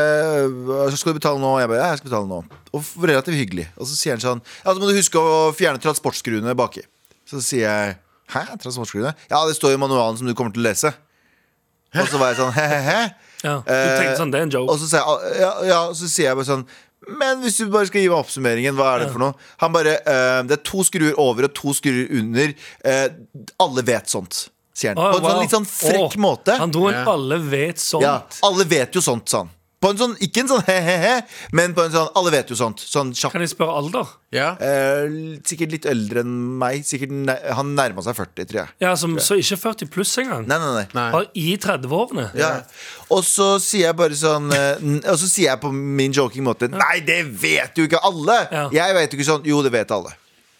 [SPEAKER 2] eh, Skal du betale nå? Og jeg bare, ja, jeg skal betale nå. Og f- relativt hyggelig. Og så sier han sånn Ja, så må du huske å fjerne transportskruene baki. Så sier jeg Hæ? Transportskruene? Ja, det står i manualen som du kommer til å lese. Og så var jeg sånn he-he-he.
[SPEAKER 3] Ja. Du tenkte sånn, det er en
[SPEAKER 2] Eh,
[SPEAKER 3] joke.
[SPEAKER 2] Og så sier jeg, "Ah, ja, ja, så sier jeg bare sånn men hvis du bare skal gi meg oppsummeringen, hva er det for noe? Han bare eh, Det er to skruer over og to skruer under. Eh, alle vet sånt, sier han.
[SPEAKER 3] Å,
[SPEAKER 2] På en
[SPEAKER 3] wow.
[SPEAKER 2] sånn litt sånn frekk
[SPEAKER 3] Å,
[SPEAKER 2] måte.
[SPEAKER 3] Han sånn. dro en
[SPEAKER 4] Ja.
[SPEAKER 3] alle vet sånt.
[SPEAKER 2] Ja, alle vet jo sånt, sa han. På en sånn, ikke en sånn he-he-he, men på en sånn alle vet jo sånt. Sånn kjapp.
[SPEAKER 3] Kan jeg spørre alder?
[SPEAKER 4] ja.
[SPEAKER 2] Eh, sikkert litt eldre enn meg. Sikkert nær- han nærma seg 40, tror jeg.
[SPEAKER 3] Ja, som, Så ikke 40 pluss engang?
[SPEAKER 2] Nei, nei, nei.
[SPEAKER 4] Nei.
[SPEAKER 3] Har i 30-årene?
[SPEAKER 2] Ja. Og så sier jeg bare sånn eh, n- Og så sier jeg på min joking måte Nei, det vet jo ikke alle!
[SPEAKER 3] Ja.
[SPEAKER 2] Jeg vet jo ikke sånn. Jo, det vet alle.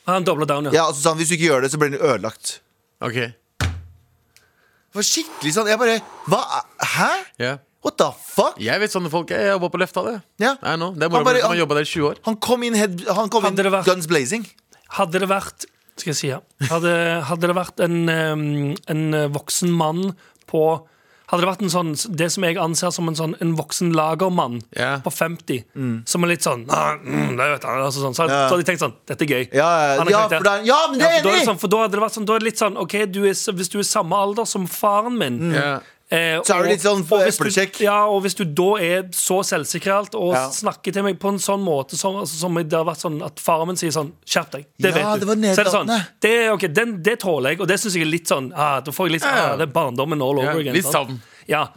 [SPEAKER 3] Han dobla down, ja.
[SPEAKER 2] Ja, og så sa han hvis du ikke gjør det, så blir den ødelagt.
[SPEAKER 4] Ok.
[SPEAKER 2] Det var skikkelig sånn. Jeg bare Hva? Hæ?
[SPEAKER 4] Ja.
[SPEAKER 2] What the fuck?
[SPEAKER 4] Jeg vet sånne folk. Jeg jobber på Lefta, det.
[SPEAKER 2] Ja.
[SPEAKER 4] I know. Det er
[SPEAKER 2] Han
[SPEAKER 4] moro
[SPEAKER 2] bare-
[SPEAKER 4] som har
[SPEAKER 2] han-
[SPEAKER 4] jobba der i 20 år.
[SPEAKER 2] Han kom inn, head, han kom
[SPEAKER 3] Hadde
[SPEAKER 2] inn
[SPEAKER 3] det vært-
[SPEAKER 2] guns blazing.
[SPEAKER 3] Hadde det vært Skal jeg si ja Hadde, hadde det vært en, em, en eh, voksen mann på Hadde det vært en sånn det som jeg anser som en sånn En voksen lagermann
[SPEAKER 4] Ja.
[SPEAKER 3] på 50, som er litt sånn «Ah, mm, det vet han, altså sånn. Så, hadde-
[SPEAKER 2] Ja.
[SPEAKER 3] så hadde jeg tenkt sånn Dette er gøy.
[SPEAKER 2] Ja, ja,
[SPEAKER 3] Han er
[SPEAKER 2] ja,
[SPEAKER 3] karakter.
[SPEAKER 2] for da, ja men det
[SPEAKER 3] Ja,
[SPEAKER 2] er
[SPEAKER 3] for da, er det
[SPEAKER 2] enig!
[SPEAKER 3] sånn, for da hadde det vært sånn Da er det litt sånn OK, du er, s- hvis du er samme alder som faren min
[SPEAKER 2] Mm.
[SPEAKER 4] Ja.
[SPEAKER 3] eh,
[SPEAKER 2] Så er det litt sånn
[SPEAKER 3] og hvis du-
[SPEAKER 2] eplekjekk.
[SPEAKER 3] Ja, og hvis du da er så selvsikker i alt og
[SPEAKER 2] Ja.
[SPEAKER 3] snakker til meg på en sånn måte som, altså, som det har vært sånn at faren min sier sånn Skjerp deg. Det
[SPEAKER 2] Ja,
[SPEAKER 3] vet du.
[SPEAKER 2] det var
[SPEAKER 3] så er det sånn
[SPEAKER 2] nedlatende.
[SPEAKER 3] Det, er ok, den, det tåler jeg, og det syns jeg er litt sånn ah, Da får jeg litt sånn,
[SPEAKER 4] Ja.
[SPEAKER 3] ah, Det er barndommen all over
[SPEAKER 4] Ja,
[SPEAKER 3] again.
[SPEAKER 4] litt
[SPEAKER 3] sant?
[SPEAKER 4] savn.
[SPEAKER 3] Ja.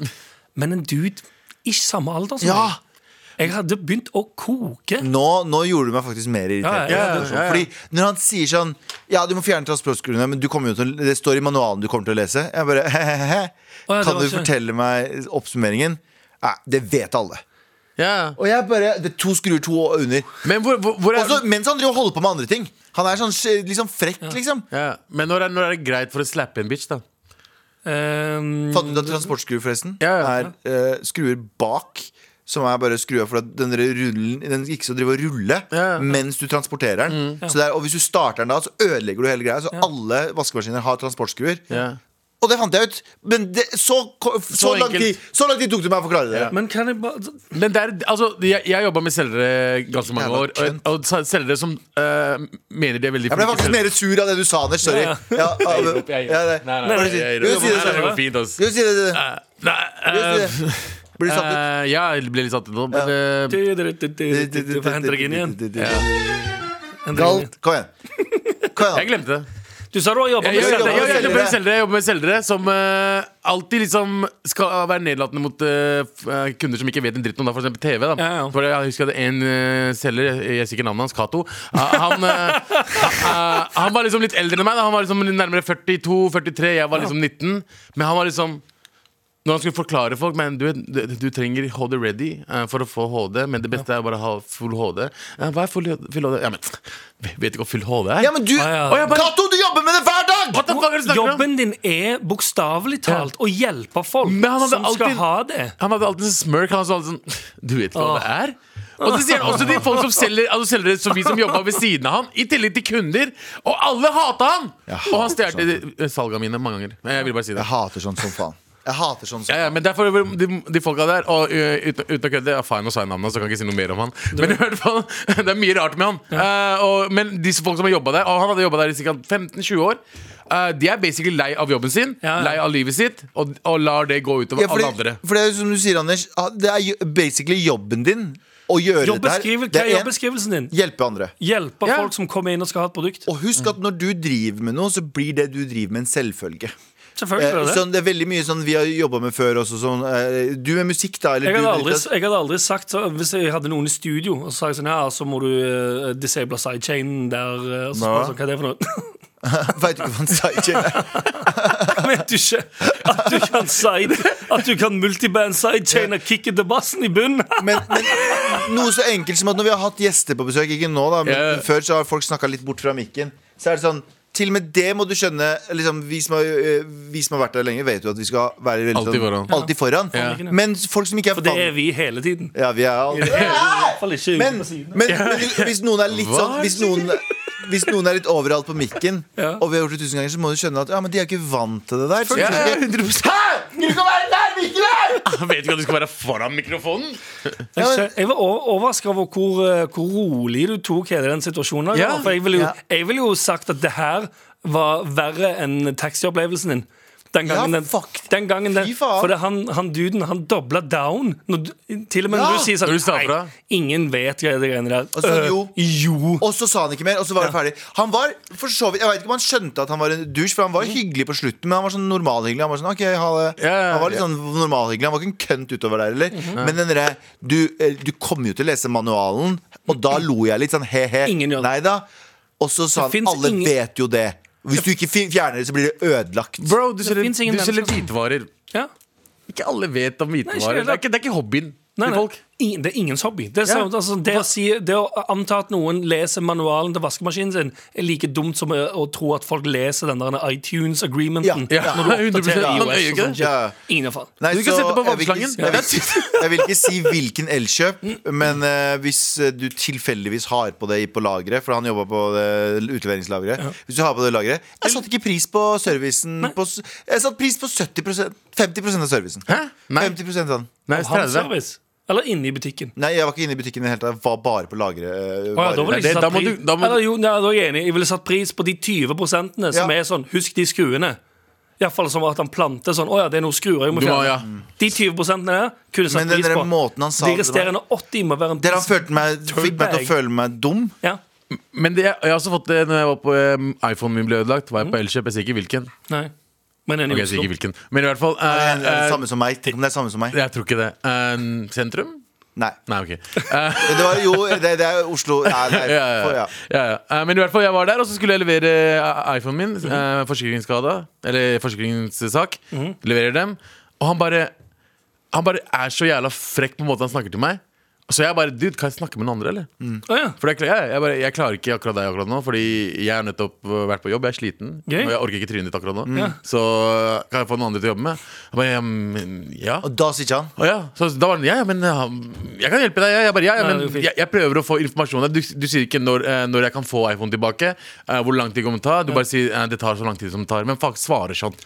[SPEAKER 3] Men en dude ikke samme alder som
[SPEAKER 2] Ja.
[SPEAKER 3] meg. Jeg hadde begynt å koke.
[SPEAKER 2] Nå, nå gjorde du meg faktisk mer irritert.
[SPEAKER 3] Ja,
[SPEAKER 4] ja,
[SPEAKER 3] ja,
[SPEAKER 4] ja, ja.
[SPEAKER 2] Fordi når han sier sånn Ja, du må fjerne transportskruene, men du kommer jo til, å- det står i manualen du kommer til å lese. Jeg bare hehehe.
[SPEAKER 3] Å, ja,
[SPEAKER 2] Kan
[SPEAKER 3] det var sånn.
[SPEAKER 2] du
[SPEAKER 3] ikke-
[SPEAKER 2] fortelle meg oppsummeringen? Nei, det vet alle.
[SPEAKER 4] Ja.
[SPEAKER 2] Og jeg bare Det er to skruer, to under.
[SPEAKER 4] Men hvor, hvor, hvor er
[SPEAKER 2] Og så mens han driver og holder på med andre ting. Han er sånn eh, liksom frekk, liksom.
[SPEAKER 4] ja. Men når er, når er det greit for å slappe en bitch, da?
[SPEAKER 3] Um,
[SPEAKER 2] Fant du ut at transportskruer forresten
[SPEAKER 4] Mm. Ja, ja,
[SPEAKER 2] er eh, skruer bak? Som er bare skrua for at den der rullen Den ikke skal drive og rulle
[SPEAKER 4] Ja, Mm. ja.
[SPEAKER 2] mens du transporterer den. Så det er, og hvis du starter den da, så ødelegger du hele greia. Så alle vaskemaskiner har transportskruer.
[SPEAKER 4] Ja.
[SPEAKER 2] Og det fant jeg ut! Men det, så, ko- så, lang
[SPEAKER 4] enkelt.
[SPEAKER 2] tid, så lang tid tok det meg å forklare det.
[SPEAKER 3] men kan jeg bare
[SPEAKER 4] Men det er, altså, jeg jeg har jobba med selgere ganske mange
[SPEAKER 2] Jævla
[SPEAKER 4] år. Og,
[SPEAKER 2] kønt.
[SPEAKER 4] og sa- selgere som eh, mener de er veldig
[SPEAKER 2] Jeg ble
[SPEAKER 4] flinke
[SPEAKER 2] faktisk
[SPEAKER 4] selgere.
[SPEAKER 2] mer sur av det du sa, Anders. Sorry.
[SPEAKER 3] Ja,
[SPEAKER 2] Ja,
[SPEAKER 3] ja.
[SPEAKER 2] av-
[SPEAKER 4] Jeg gir opp, jeg gir
[SPEAKER 2] ja,
[SPEAKER 4] opp.
[SPEAKER 2] det-
[SPEAKER 4] Nei, nei,
[SPEAKER 2] Hva er
[SPEAKER 4] nei,
[SPEAKER 2] det du sier?
[SPEAKER 4] jeg gir
[SPEAKER 2] Skal du
[SPEAKER 4] opp.
[SPEAKER 2] si det selv?
[SPEAKER 4] Nei, nei, det går fint, altså. ass.
[SPEAKER 2] Skal du si det? det-
[SPEAKER 4] Nei,
[SPEAKER 2] skal du si det? Blir du satt ut?
[SPEAKER 4] eh, ja, jeg ble litt satt ut nå, men eh,
[SPEAKER 3] Henter deg inn igjen. Henter deg inn
[SPEAKER 2] Gal,
[SPEAKER 3] igjen.
[SPEAKER 2] kom igjen. Kom igjen.
[SPEAKER 4] jeg glemte det.
[SPEAKER 3] Du sa du har jobba
[SPEAKER 4] Jeg,
[SPEAKER 3] med
[SPEAKER 4] jeg, jeg,
[SPEAKER 3] selgere.
[SPEAKER 4] jeg, jeg, jobber med selgere, jeg jobber med selgere som eh, alltid liksom skal være nedlatende mot eh, f- eh, kunder som ikke vet en dritt om det, for eksempel TV. Da.
[SPEAKER 3] Ja, ja.
[SPEAKER 4] For jeg husker jeg hadde en eh, selger, jeg jeg sier ikke navnet hans, Cato. Eh, han, eh, eh, han var liksom litt eldre enn meg. Da. Han var liksom nærmere 42-43, jeg var liksom 19. Men han var liksom når han skulle forklare folk Men du, vet, du, du trenger HD ready eh, for å få HD, men det beste er bare å ha full HD. Eh, hva er full, full HD? Ja, men, vet ikke hva full HD er.
[SPEAKER 2] Ja, men du,
[SPEAKER 3] Ah, ja.
[SPEAKER 2] Å, jeg bare- Cato, du jobber med det hver dag!
[SPEAKER 4] What the fuck er det du snakker om?
[SPEAKER 3] Jobben din er bokstavelig talt å hjelpe folk
[SPEAKER 4] Men han hadde
[SPEAKER 3] som skal
[SPEAKER 4] alltid-
[SPEAKER 3] ha det.
[SPEAKER 4] Han hadde alltid en smirk. Han sa alltid sånn Du vet ikke hva
[SPEAKER 3] Åh.
[SPEAKER 4] det er? Og så sier han også til folk som selger Altså selger som vi som jobba ved siden av han, i tillegg til kunder. Og alle hata han! og han stjal salga mine mange ganger. Men jeg vil bare si det.
[SPEAKER 2] Jeg hater sånn som faen. Jeg hater sånn som
[SPEAKER 4] Ja, ja, men derfor de, de folka der Og ø, uten, uten å kødde, ja, faen, nå sa jeg navnet, så kan jeg ikke si noe mer om han. Men i hvert fall, det er mye rart med han. Eh, og, men disse folk som har jobbet der, og han hadde jobba der i ca. 15-20 år, eh, de er basically lei av jobben sin,
[SPEAKER 3] Ja, ja.
[SPEAKER 4] lei av livet sitt, og, og lar det gå utover
[SPEAKER 2] ja, for,
[SPEAKER 4] alle
[SPEAKER 2] det,
[SPEAKER 4] andre.
[SPEAKER 2] for det er jo som du sier, Anders, ah, det er jo basically jobben din å gjøre
[SPEAKER 3] Jobbeskrivel,
[SPEAKER 2] det her.
[SPEAKER 3] hva er
[SPEAKER 2] Det er en,
[SPEAKER 3] jobbeskrivelsen din?
[SPEAKER 2] hjelpe andre.
[SPEAKER 3] Hjelpe
[SPEAKER 4] Ja.
[SPEAKER 3] folk som kommer inn og skal ha et produkt.
[SPEAKER 2] Og husk at når du driver med noe, så blir det du driver med, en selvfølge.
[SPEAKER 3] Selvfølgelig
[SPEAKER 2] Eh,
[SPEAKER 3] er det det.
[SPEAKER 2] sånn, det er veldig mye sånn vi har jobba med før også. Sånn, eh, du med musikk, da? Eller
[SPEAKER 3] Jeg hadde,
[SPEAKER 2] du,
[SPEAKER 3] aldri, jeg hadde aldri sagt så, Hvis jeg hadde noen i studio Og så sa jeg sånn, ja, så må du uh, disable sidechainen der eh, Og så spør jeg sånn, hva er det for noe?
[SPEAKER 2] Veit du ikke hva en sidechain er?
[SPEAKER 3] Vet du ikke at du kan side At du kan multiband sidechain Og kicke til bassen i bunnen?
[SPEAKER 2] Men, men noe så enkelt som at når vi har hatt gjester på besøk, ikke nå, da, men
[SPEAKER 4] Ja.
[SPEAKER 2] før så har folk snakka litt bort fra mikken, så er det sånn til og med det må du skjønne. Liksom, vi, som har, øh, vi som har vært der lenge, vet jo at vi skal være veldig
[SPEAKER 4] Alltid
[SPEAKER 2] sånn-
[SPEAKER 4] foran.
[SPEAKER 2] alltid foran.
[SPEAKER 4] Ja.
[SPEAKER 2] Men folk som ikke er
[SPEAKER 3] For det er
[SPEAKER 2] vant-
[SPEAKER 3] vi hele tiden
[SPEAKER 2] Ja, vi er alltid
[SPEAKER 3] I hvert fall ikke
[SPEAKER 2] men,
[SPEAKER 3] på siden.
[SPEAKER 2] men hvis noen er litt sånn hvis noen, hvis noen er litt overalt på mikken,
[SPEAKER 3] Ja.
[SPEAKER 2] og vi har gjort det tusen ganger, så må du skjønne at ja, men de er ikke vant til det der. Så
[SPEAKER 4] Ja,
[SPEAKER 2] de
[SPEAKER 4] ja,
[SPEAKER 2] skal-
[SPEAKER 4] 100% Han vet ikke at du skal være foran mikrofonen.
[SPEAKER 3] Jeg, skjø- jeg var overraska over hvor, eh, hvor rolig du tok hele den situasjonen. der,
[SPEAKER 4] Ja,
[SPEAKER 3] Karl, For jeg ville jo,
[SPEAKER 2] ja.
[SPEAKER 3] jeg ville jo sagt at det her var verre enn taxiopplevelsen din. Den gangen
[SPEAKER 2] Ja,
[SPEAKER 3] den,
[SPEAKER 2] fuck.
[SPEAKER 3] den gangen den
[SPEAKER 2] Fy faen.
[SPEAKER 3] For det, han, han duden, han dobla down. Når, du- til og med når
[SPEAKER 2] Ja.
[SPEAKER 3] du sier
[SPEAKER 4] Når du sa
[SPEAKER 3] sånn
[SPEAKER 4] fra.
[SPEAKER 3] Nei, ingen vet hva det greiene der.
[SPEAKER 2] Og så
[SPEAKER 3] Øh,
[SPEAKER 2] jo.
[SPEAKER 3] jo.
[SPEAKER 2] Og så sa han ikke mer, og så var det ferdig. Han var, for så vidt, Jeg vet ikke om han skjønte at han var en douche, for han
[SPEAKER 3] Mhm.
[SPEAKER 2] var hyggelig på slutten, men han var sånn normalhyggelig. Han var sånn, ok, ha det
[SPEAKER 4] Ja, ja,
[SPEAKER 2] Han var litt
[SPEAKER 4] ja.
[SPEAKER 2] sånn normalhyggelig Han var ikke en kønt utover der, eller?
[SPEAKER 3] Mhm.
[SPEAKER 2] Men den derre du, eh, du kommer jo til å lese manualen, og da lo jeg litt sånn he-he.
[SPEAKER 3] Ingen gjør det.
[SPEAKER 2] Nei da. Og så sa
[SPEAKER 3] Det
[SPEAKER 2] han
[SPEAKER 3] finnes
[SPEAKER 2] alle
[SPEAKER 3] ingen-
[SPEAKER 2] vet jo det. Hvis du ikke fi- fjerner det, så blir det ødelagt.
[SPEAKER 4] Bro, du selger,
[SPEAKER 3] finnes ingen
[SPEAKER 4] du selger
[SPEAKER 3] mennesker som-
[SPEAKER 4] hvitvarer.
[SPEAKER 3] Ja.
[SPEAKER 4] Ikke alle vet om
[SPEAKER 3] Nei, ikke
[SPEAKER 4] hvitvarer.
[SPEAKER 3] heller.
[SPEAKER 4] Det er ikke, det er ikke hobbyen
[SPEAKER 3] Nei,
[SPEAKER 4] til
[SPEAKER 3] nei.
[SPEAKER 4] folk.
[SPEAKER 3] Ingen, det er ingens hobby. Det, er
[SPEAKER 4] Ja.
[SPEAKER 3] samme- altså, det, å si, det å anta at noen leser manualen til vaskemaskinen sin, er like dumt som å, å tro at folk leser den der iTunes-agreementen.
[SPEAKER 2] Ja. Ja.
[SPEAKER 3] Når
[SPEAKER 4] 100%.
[SPEAKER 3] du oppdaterer
[SPEAKER 4] Man
[SPEAKER 3] iOS
[SPEAKER 4] øyer
[SPEAKER 3] og
[SPEAKER 4] ikke
[SPEAKER 3] sånn
[SPEAKER 4] det.
[SPEAKER 3] shit.
[SPEAKER 2] Ja.
[SPEAKER 3] Ingen erfaring.
[SPEAKER 2] Nei,
[SPEAKER 4] Du kan
[SPEAKER 2] så
[SPEAKER 4] sette på
[SPEAKER 2] jeg vil ikke-
[SPEAKER 4] vannslangen.
[SPEAKER 2] Jeg, vil ikke- jeg vil ikke si hvilken elkjøp, men eh, hvis eh, du tilfeldigvis har på det i- på lageret, for han jobba på det utleveringslageret Hvis du har på det lageret Jeg satte ikke pris på servicen på, s- Jeg satte pris på 70 50 av servicen.
[SPEAKER 4] Hæ? Nei.
[SPEAKER 2] 50 av den.
[SPEAKER 4] Nei,
[SPEAKER 3] Og har
[SPEAKER 4] 30.
[SPEAKER 3] service. Eller inne i butikken.
[SPEAKER 2] Nei, jeg var ikke inne i butikken i det hele tatt. Jeg var bare på lageret. eh,
[SPEAKER 3] Å ja, da
[SPEAKER 2] varer.
[SPEAKER 3] var det
[SPEAKER 4] Nei,
[SPEAKER 3] ikke
[SPEAKER 4] det- da
[SPEAKER 3] satt
[SPEAKER 4] må
[SPEAKER 3] pris
[SPEAKER 4] du- da må du-
[SPEAKER 3] Eller jo, nei, da er jeg enig. Jeg ville satt pris på de 20 som
[SPEAKER 2] Ja.
[SPEAKER 3] er sånn Husk de skruene. Iallfall som at han planter sånn Å ja, det er noen skruer jeg må
[SPEAKER 4] Du må-
[SPEAKER 3] fjerne.
[SPEAKER 4] ja.
[SPEAKER 3] De 20 der kunne jeg
[SPEAKER 2] Men
[SPEAKER 3] satt
[SPEAKER 2] den
[SPEAKER 3] pris
[SPEAKER 2] der
[SPEAKER 3] på.
[SPEAKER 2] måten han sa
[SPEAKER 3] de
[SPEAKER 2] det var-
[SPEAKER 3] resterende 80 må være en
[SPEAKER 2] Dere han følte meg, fikk meg til å
[SPEAKER 3] Turd bag.
[SPEAKER 2] føle meg dum.
[SPEAKER 4] Eh,
[SPEAKER 3] Ja.
[SPEAKER 4] Men det, jeg har også fått det når jeg var på um, iPhonen min ble ødelagt. Var jeg på Elkjøp? Jeg sier ikke hvilken.
[SPEAKER 3] Nei. Men en
[SPEAKER 4] Ok,
[SPEAKER 3] i
[SPEAKER 4] jeg sier
[SPEAKER 3] Mm. Oslo.
[SPEAKER 4] ikke hvilken Men i hvert fall
[SPEAKER 2] Det er
[SPEAKER 4] eh,
[SPEAKER 2] det
[SPEAKER 4] eh,
[SPEAKER 2] samme som meg. Tenk om det er samme som meg.
[SPEAKER 4] Jeg tror ikke det. Eh, sentrum?
[SPEAKER 2] Nei.
[SPEAKER 4] Nei, ok. Eh,
[SPEAKER 2] Men Det var jo Det, det er Oslo Nei, nei.
[SPEAKER 4] ja, ja,
[SPEAKER 2] For,
[SPEAKER 4] ja.
[SPEAKER 2] ja.
[SPEAKER 4] Ja, ja. Eh, Men i hvert fall, jeg var der, og så skulle jeg levere eh, iPhonen min. eh, Forsikringsskada. Eller forsikringssak. Leverer dem. Og han bare Han bare er så jævla frekk på måten han snakker til meg. Så jeg bare Dude, kan jeg snakke med noen andre, eller?
[SPEAKER 3] Å ja.
[SPEAKER 4] For det, kla- jeg, jeg, bare, jeg klarer ikke akkurat deg akkurat nå, fordi jeg har nettopp øh, vært på jobb. Jeg er sliten,
[SPEAKER 3] Gøy.
[SPEAKER 4] og jeg orker ikke trynet ditt akkurat nå. Så øh, kan jeg få noen andre til å jobbe med? Jeg bare, ja, men, ja.
[SPEAKER 2] Og da sier ikke han
[SPEAKER 4] Å ja. Så da var han ja, ja, men ja, jeg kan hjelpe deg. Ja, jeg, bare, ja, ja, men,
[SPEAKER 3] Nei, det går fint.
[SPEAKER 4] jeg, jeg prøver å få informasjon. Du, du sier ikke når, eh, når jeg kan få iPhone tilbake. eh, hvor lang tid det kommer til å ta. Du bare sier eh, det tar så lang tid som det tar. Men fuck, svarer sånn. Eh,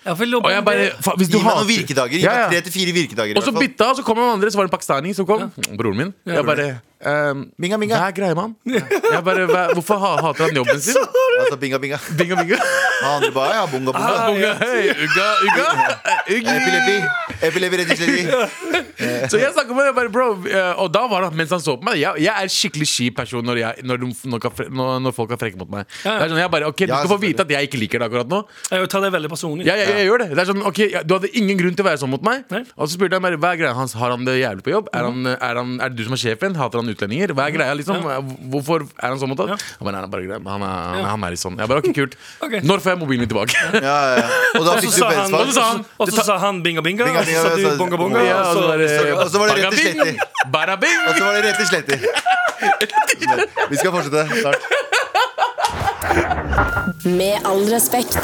[SPEAKER 3] Ja, for jeg lurer på
[SPEAKER 4] Og jeg
[SPEAKER 3] om
[SPEAKER 4] bare,
[SPEAKER 3] det-
[SPEAKER 4] fa, hvis du
[SPEAKER 2] Gi meg
[SPEAKER 4] hater-
[SPEAKER 2] noen virkedager. Gi
[SPEAKER 4] Ja, ja.
[SPEAKER 2] meg tre til fire virkedager. i
[SPEAKER 4] Og så
[SPEAKER 2] hvert fall.
[SPEAKER 4] bytta, og så kom han andre, så var det en pakistaner som kom. Mm, Broren min. jeg bare ehm,
[SPEAKER 2] Minga, minga.
[SPEAKER 4] Hva er greia med han? Jeg bare, hva, hvorfor ha, hater han jobben sin?
[SPEAKER 2] Altså binga, binga.
[SPEAKER 4] Binga, binga.
[SPEAKER 2] Og han andre bare ja, bunga, bunga.
[SPEAKER 3] Ah.
[SPEAKER 4] Bunga, hei, ugga, ugga. Uggi.
[SPEAKER 2] Epilepi. Epilepi, rett og slett.
[SPEAKER 4] Så jeg snakket med han, jeg bare, bro eh, Og da var han, mens han så på meg Jeg, jeg er skikkelig kjip person når, jeg, når, de, når, kan fre- når, når folk er frekke mot meg. Det er sånn, jeg bare, ok, Du
[SPEAKER 2] Ja,
[SPEAKER 4] skal få
[SPEAKER 2] selvfølgelig.
[SPEAKER 4] vite at jeg ikke liker det akkurat nå.
[SPEAKER 3] Jeg tar det veldig personlig.
[SPEAKER 4] Ja, jeg, jeg, gjør det. det er sånn, ok, ja, Du hadde ingen grunn til å være sånn mot meg.
[SPEAKER 3] Nei.
[SPEAKER 4] Og så spurte jeg bare, hva er greia hans. Har han det jævlig på jobb? Er, han, er, han, er det du som er sjefen? Hater han utlendinger? Hva er greia liksom? Hvorfor er han sånn mot oss? Han bare, nei, det er bare greia. Han er, han, er- han er litt sånn. Jeg bare, ok, kult.
[SPEAKER 3] Ok.
[SPEAKER 4] Når får jeg mobilen min tilbake?
[SPEAKER 2] Ja, ja. Og da
[SPEAKER 3] Og så
[SPEAKER 2] fikk du
[SPEAKER 3] sa han,
[SPEAKER 2] bensvar.
[SPEAKER 3] og så sa han, og
[SPEAKER 4] Det
[SPEAKER 3] så
[SPEAKER 4] tar-
[SPEAKER 3] sa han binga binga,
[SPEAKER 2] Binga,
[SPEAKER 3] og så
[SPEAKER 2] binga,
[SPEAKER 3] sa du
[SPEAKER 2] så-
[SPEAKER 3] bonga bonga.
[SPEAKER 2] Ja,
[SPEAKER 3] og så-
[SPEAKER 2] og så var det rett i
[SPEAKER 4] altså, Bada
[SPEAKER 2] sletter.
[SPEAKER 4] bing! Bada bing!
[SPEAKER 2] Og så var det rett og slett Vi skal fortsette snart.
[SPEAKER 6] Med all respekt.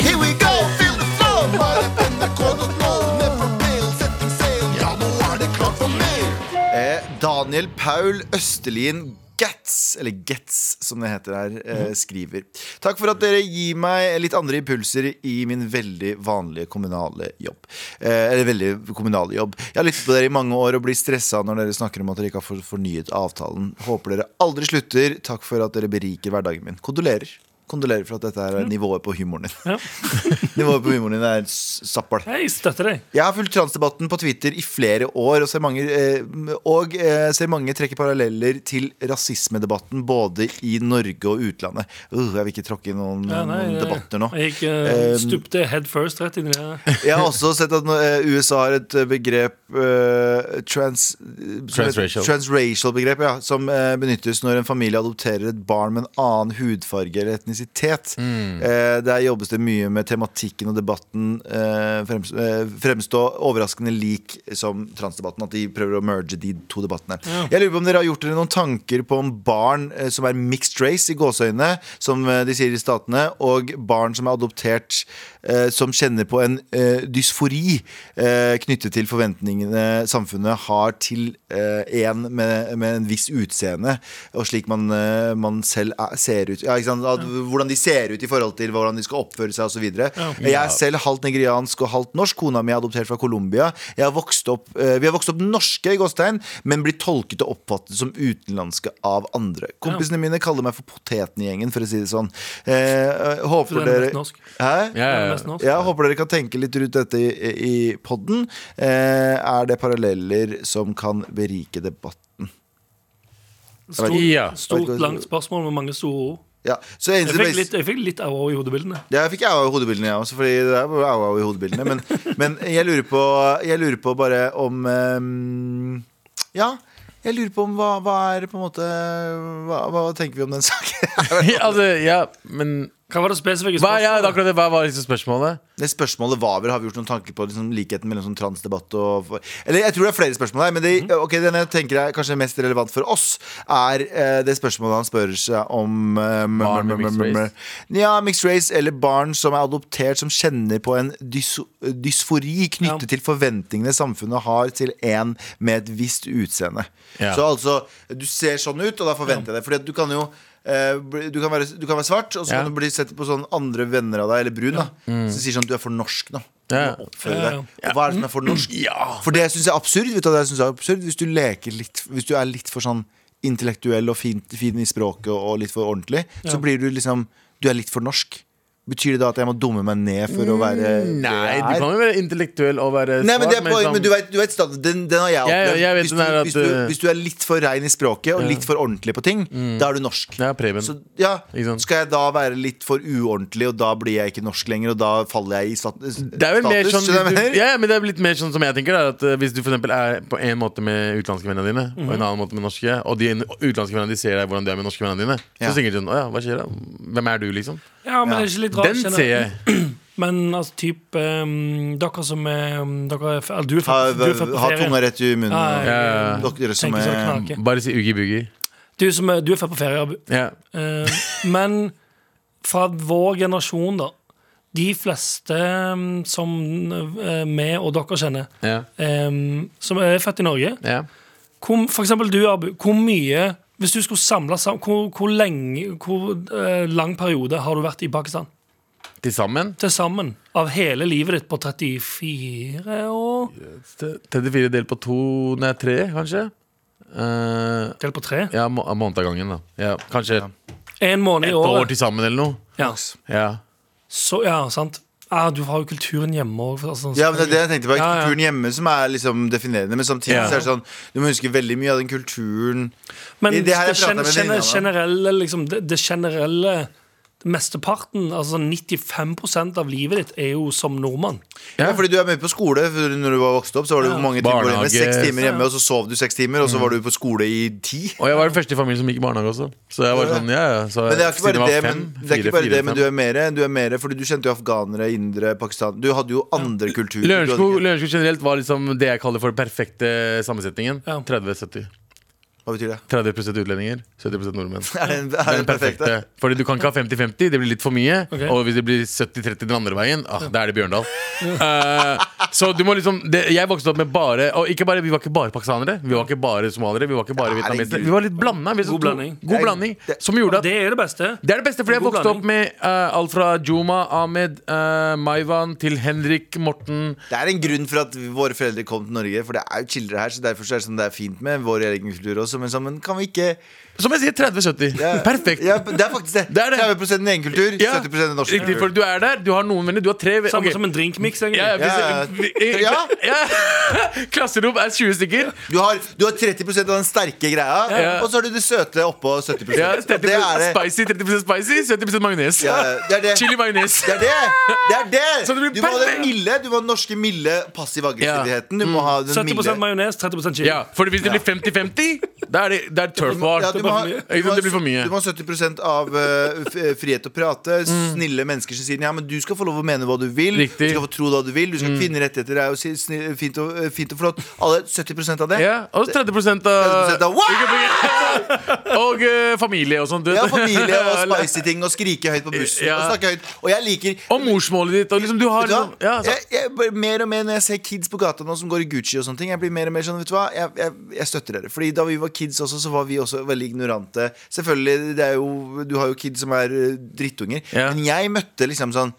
[SPEAKER 7] Here we go, feel the flow Bare venter kodet nå Ned for bail, setting sail Ja, nå er det klart for mer
[SPEAKER 2] Eh, Daniel Paul Østerlien Gats, eller Gets som det heter her, eh, skriver. Takk for at dere gir meg litt andre impulser i min veldig vanlige kommunale jobb. Eh, eller veldig kommunale jobb. Jeg har lyttet på dere i mange år og blir stressa når dere snakker om at dere ikke har for- fornyet avtalen. Håper dere aldri slutter. Takk for at dere beriker hverdagen min. Kondolerer. Kondolerer for at dette her er nivået på humoren din. nivået på humoren din er s- sappel.
[SPEAKER 3] Jeg støtter deg.
[SPEAKER 2] Jeg har fulgt transdebatten på Twitter i flere år og ser mange, eh, og, eh, ser mange trekke paralleller til rasismedebatten både i Norge og utlandet. Uh, jeg vil ikke tråkke i noen,
[SPEAKER 3] Ja, nei,
[SPEAKER 2] noen
[SPEAKER 3] jeg-
[SPEAKER 2] debatter nå.
[SPEAKER 3] Jeg gikk, eh,
[SPEAKER 2] Um,
[SPEAKER 3] stupte head first rett inn i det.
[SPEAKER 2] Jeg har også sett at eh, USA har et begrep eh, trans, som heter-
[SPEAKER 4] Transracial.
[SPEAKER 2] transracial begrep, ja, som eh, benyttes når en familie adopterer et barn med en annen hudfarge eller etnisitet. Eh, der jobbes det mye med tematikken og debatten eh, frems, eh, fremstå overraskende lik som transdebatten. At de prøver å merge de to debattene. Jeg lurer på om dere har gjort dere noen tanker på om barn eh, som er mixed race i gåseøynene, som eh, de sier i statene, og barn som er adoptert eh, som kjenner på en eh, dysfori eh, knyttet til forventningene samfunnet har til eh, en med, med en viss utseende, og slik man, eh, man selv er, ser ut. Ja, ikke sant? At, hvordan de ser ut i forhold til hvordan de skal oppføre seg osv. videre Jeg er selv halvt nigeriansk og halvt norsk. Kona mi er adoptert fra Colombia. Jeg har vokst opp, eh, vi har vokst opp norske, i gåstegn, men blir tolket og oppfattet som utenlandske av andre. Kompisene mine kaller meg for poteten i gjengen, for å si det sånn. Eh,
[SPEAKER 3] For
[SPEAKER 2] håper
[SPEAKER 3] den er
[SPEAKER 2] dere
[SPEAKER 3] mest norsk.
[SPEAKER 2] Hæ?
[SPEAKER 4] Ja, ja,
[SPEAKER 3] Den er
[SPEAKER 4] ja.
[SPEAKER 3] mest norsk.
[SPEAKER 2] Jeg håper dere kan tenke litt rundt dette i, i podden. Eh, er det paralleller som kan berike debatten?
[SPEAKER 3] Stort,
[SPEAKER 4] Ja.
[SPEAKER 2] Vet
[SPEAKER 3] stort,
[SPEAKER 2] du-
[SPEAKER 3] langt spørsmål med mange store ord.
[SPEAKER 2] Ja, så eneste
[SPEAKER 3] Jeg fikk litt, jeg fikk litt au-au i hodebildene.
[SPEAKER 2] Ja, jeg fikk au i hodebildene, jeg også. Fordi det er bare au au i hodebildene. Men, men jeg, lurer på, jeg lurer på bare om ehm, Ja, jeg lurer på om hva, hva er på en måte hva, hva tenker vi om den saken?
[SPEAKER 4] altså, ja, men
[SPEAKER 3] Hva var det spesifikke
[SPEAKER 4] hva, ja, det er
[SPEAKER 3] spørsmålet?
[SPEAKER 4] akkurat det, hva var liksom spørsmålet?
[SPEAKER 2] Det spørsmålet var vel Har vi gjort noen tanker på liksom, likheten mellom sånn transdebatt og Eller jeg tror det er flere spørsmål her, men det,
[SPEAKER 4] Mhm.
[SPEAKER 2] ok, den jeg tenker er kanskje mest relevant for oss, er eh, det spørsmålet han spør seg om eh,
[SPEAKER 4] Barn med mixed race.
[SPEAKER 2] Ja, mixed race eller barn som er adoptert, som kjenner på en dys dysfori knyttet
[SPEAKER 3] Ja.
[SPEAKER 2] til forventningene samfunnet har til en med et visst utseende.
[SPEAKER 4] Ja.
[SPEAKER 2] Så altså, du ser sånn ut, og da forventer jeg det. Fordi at du kan jo eh, bli- du kan, være, du kan være svart, og så
[SPEAKER 4] Ja.
[SPEAKER 2] kan du bli sett på sånn andre venner av deg, eller brun, da. Som sier sånn du er for norsk nå. Du
[SPEAKER 4] Ja.
[SPEAKER 2] må oppføre
[SPEAKER 3] Mm. Ja, ja.
[SPEAKER 2] deg. Og hva er det som er for norsk? For det syns jeg er absurd. Vet du, hva jeg synes er absurd Hvis du leker litt Hvis du er litt for sånn intellektuell og fin, fin i språket og litt for ordentlig, så blir du liksom Du er litt for norsk. Betyr det da at jeg må dumme meg ned for å være
[SPEAKER 4] Mm,
[SPEAKER 2] det
[SPEAKER 4] Nei, du
[SPEAKER 2] jeg er?
[SPEAKER 4] kan jo være intellektuell og være
[SPEAKER 2] Nei, men, det er
[SPEAKER 4] smart,
[SPEAKER 2] poenget,
[SPEAKER 4] liksom-
[SPEAKER 2] men du vet, du vet standard, den, den har jeg
[SPEAKER 4] Ja, ja,
[SPEAKER 2] opplevd.
[SPEAKER 4] jeg vet
[SPEAKER 2] hvis,
[SPEAKER 4] den der
[SPEAKER 2] du,
[SPEAKER 4] at,
[SPEAKER 2] hvis, du,
[SPEAKER 4] uh,
[SPEAKER 2] hvis du er litt for rein i språket og litt for ordentlig på ting, da er du norsk.
[SPEAKER 4] Mm. Ja, Preben.
[SPEAKER 2] Så ja,
[SPEAKER 4] Ikke sant?
[SPEAKER 2] Skal jeg da være litt for uordentlig, og da blir jeg ikke norsk lenger, og da faller jeg i stat
[SPEAKER 4] Det er vel mer
[SPEAKER 2] status?
[SPEAKER 4] sånn
[SPEAKER 2] skjønner du hva jeg mener?
[SPEAKER 4] Ja, ja, men det er litt mer sånn som jeg tenker da, at eh, Hvis du for eksempel er på en måte med utenlandske vennene dine Og en annen måte med norske Og de utenlandske vennene de ser deg hvordan du er med norske vennene dine
[SPEAKER 2] Ja.
[SPEAKER 4] Så tenker du sånn, åja, hva skjer da? Hvem er du liksom?
[SPEAKER 3] Ja, men det er ikke litt rart
[SPEAKER 4] Den
[SPEAKER 3] kjenner-
[SPEAKER 4] ser jeg
[SPEAKER 3] Men altså, typ ehm, Dere som er um, dere er, f- eller, Du er
[SPEAKER 2] Ha,
[SPEAKER 3] født du er født på
[SPEAKER 2] ha
[SPEAKER 3] ferie.
[SPEAKER 2] tunga rett i munnen.
[SPEAKER 3] Ja, ja,
[SPEAKER 4] ja.
[SPEAKER 2] Dere som
[SPEAKER 3] Tenker sånn
[SPEAKER 2] er
[SPEAKER 3] knall. Ok.
[SPEAKER 4] Bare si Ugi Bugi
[SPEAKER 3] Du, som er, du er født på ferie, Abu.
[SPEAKER 4] ja.
[SPEAKER 3] Eh, men fra vår generasjon, da. De fleste ehm, som eh, vi og dere kjenner,
[SPEAKER 4] Ja.
[SPEAKER 3] ehm, som er født i Norge
[SPEAKER 4] Ja.
[SPEAKER 3] hvor, For eksempel du, Abu. Hvor mye Hvis du skulle samle sammen Hvor, hvor, lenge, hvor eh, lang periode har du vært i Pakistan?
[SPEAKER 4] Til sammen
[SPEAKER 3] Til sammen. Av hele livet ditt på 34 år?
[SPEAKER 4] t- 34 del på 2, nei 3 kanskje Eh,
[SPEAKER 3] Delt på tre?
[SPEAKER 4] Ja, må måned av gangen da ja, Kanskje et
[SPEAKER 3] En måned i
[SPEAKER 4] år
[SPEAKER 3] året.
[SPEAKER 4] til sammen eller noe
[SPEAKER 3] Ja.
[SPEAKER 4] Ja
[SPEAKER 3] Så, ja, sant. Ja, du har jo kulturen hjemme òg. Altså,
[SPEAKER 2] Ja, men det er det jeg tenkte på.
[SPEAKER 3] Ja, ja.
[SPEAKER 2] Kulturen hjemme som er liksom definerende. Men samtidig
[SPEAKER 4] Ja.
[SPEAKER 2] så er det sånn du må huske veldig mye av den kulturen
[SPEAKER 3] men
[SPEAKER 2] det- det her jeg
[SPEAKER 3] det
[SPEAKER 2] prater
[SPEAKER 3] gen-
[SPEAKER 2] med
[SPEAKER 3] gen-
[SPEAKER 2] venninna, da.
[SPEAKER 3] generelle, liksom, det, det generelle Mesteparten, altså 95 av livet ditt, er jo som nordmann.
[SPEAKER 2] Ja, fordi du er med på skole for Når du var vokst opp, så var det jo mange timer hjemme.
[SPEAKER 4] Barnehage. Mm.
[SPEAKER 2] Seks timer hjemme, og så sov du seks timer, og så var du på skole i ti.
[SPEAKER 4] Og jeg var den første i familien som gikk i barnehage også. Så jeg var sånn, ja, ja. Så
[SPEAKER 2] Men det er ikke
[SPEAKER 4] siden
[SPEAKER 2] bare
[SPEAKER 4] jeg
[SPEAKER 2] det,
[SPEAKER 4] var
[SPEAKER 2] men,
[SPEAKER 4] fem,
[SPEAKER 2] det er ikke
[SPEAKER 4] fire,
[SPEAKER 2] bare
[SPEAKER 4] fire,
[SPEAKER 2] det, men
[SPEAKER 4] fem.
[SPEAKER 2] du er mer, du er mere, fordi du kjente jo afghanere, indre, pakistanere Du hadde jo andre kulturer. Du hadde
[SPEAKER 4] Lørenskog
[SPEAKER 2] ikke-
[SPEAKER 4] Lørenskog generelt var liksom det jeg kaller for den perfekte sammensetningen.
[SPEAKER 3] Ja.
[SPEAKER 4] 30-70.
[SPEAKER 2] Hva betyr det?
[SPEAKER 4] 30 utlendinger, 70 nordmenn.
[SPEAKER 2] Er det, en-
[SPEAKER 4] Det
[SPEAKER 2] er
[SPEAKER 4] er
[SPEAKER 2] det
[SPEAKER 4] den perfekte. Fordi du kan ikke ha 50-50, det blir litt for mye.
[SPEAKER 3] Ok.
[SPEAKER 4] Og hvis det blir 70-30 den andre veien, ah, da er det Bjørndal. Eh, så du må liksom det, Jeg vokste opp med bare Og ikke bare, vi var ikke bare pakistanere, vi var ikke bare somaliere, vi var ikke bare
[SPEAKER 2] Det er
[SPEAKER 4] vietnamesere.
[SPEAKER 2] ikke-
[SPEAKER 4] Vi var litt blanda. vi var så-
[SPEAKER 3] God blanding.
[SPEAKER 4] God blanding
[SPEAKER 2] Det-
[SPEAKER 4] som gjorde at
[SPEAKER 3] Det er det beste.
[SPEAKER 4] Det er det beste, fordi jeg
[SPEAKER 3] God
[SPEAKER 4] vokste opp
[SPEAKER 3] blanding.
[SPEAKER 4] med eh, alt fra Juma, Ahmed, eh, Maivan til Henrik, Morten
[SPEAKER 2] Det er en grunn for at våre foreldre kom til Norge, for det er jo chillere her. Så derfor så er det sånn det er fint med vår egen kultur også, men sammen kan vi ikke
[SPEAKER 4] Som jeg sier, 30-70.
[SPEAKER 2] ja,
[SPEAKER 4] Perfekt.
[SPEAKER 2] Ja, det er faktisk det.
[SPEAKER 4] Det er det.
[SPEAKER 2] 30 din egen kultur,
[SPEAKER 4] Ja,
[SPEAKER 2] 70 norsk
[SPEAKER 4] Riktig, for
[SPEAKER 2] kultur.
[SPEAKER 4] du er der, du har noen venner, du har tre
[SPEAKER 3] Samme
[SPEAKER 4] ok.
[SPEAKER 3] som en drinkmix, egentlig.
[SPEAKER 4] ja, ja,
[SPEAKER 2] Ja,
[SPEAKER 4] vi-
[SPEAKER 2] ja.
[SPEAKER 4] vi-
[SPEAKER 2] Ja.
[SPEAKER 4] ja. Klasserom er 20 stykker.
[SPEAKER 2] Du har, du har 30 av den sterke greia,
[SPEAKER 4] Ja.
[SPEAKER 2] og så har du det søte oppå 70
[SPEAKER 4] Ja,
[SPEAKER 2] Og det,
[SPEAKER 4] 30
[SPEAKER 2] er det.
[SPEAKER 4] spicy, 30 spicy, 70 majones.
[SPEAKER 2] Ja, det er det.
[SPEAKER 4] Chili majones.
[SPEAKER 2] Det er det! det, er det.
[SPEAKER 4] Så det blir
[SPEAKER 2] du må ha den
[SPEAKER 4] perfekt.
[SPEAKER 2] milde, du må ha den norske milde passiv-aggressiviteten. Du må ha den
[SPEAKER 3] 70
[SPEAKER 2] milde
[SPEAKER 3] majones, 30 chili.
[SPEAKER 4] Ja, for hvis det blir 50-50, da er det, det er turf war.
[SPEAKER 2] Ja, du må ha-
[SPEAKER 4] Ikke sant,
[SPEAKER 2] du må ha-
[SPEAKER 4] det blir for mye.
[SPEAKER 2] Du må ha 70 av eh, f- eh, frihet til å prate. Snille mennesker som sier Ja, men du skal få lov å mene hva du vil.
[SPEAKER 4] Mm. Riktig. Mm.
[SPEAKER 2] Du skal få tro hva du vil. Du skal ha kvinnerettigheter. Det er jo si- snill, fint, og, eh, fint og flott. Alle 70 av det.
[SPEAKER 4] Ja, og 30 av
[SPEAKER 2] 30% av, wow!
[SPEAKER 4] Og eh, familie og sånn. du vet.
[SPEAKER 2] Ja, familie og spicy ting og skrike høyt på bussen.
[SPEAKER 4] Ja.
[SPEAKER 2] Og snakke høyt Og jeg liker
[SPEAKER 4] Og morsmålet ditt. Og liksom, du har
[SPEAKER 2] Vet du
[SPEAKER 4] liksom,
[SPEAKER 2] hva?
[SPEAKER 4] ja, så,
[SPEAKER 2] jeg, jeg, bare mer og mer når jeg ser kids på gata nå som går i Gucci og sånne ting, jeg blir mer og mer sånn, vet du hva, jeg, jeg, jeg støtter dere. Fordi da vi var kids også, så var vi også veldig ignorante. Selvfølgelig, det er jo, du har jo kids som er eh, drittunger.
[SPEAKER 4] Ja.
[SPEAKER 2] Men jeg møtte liksom sånn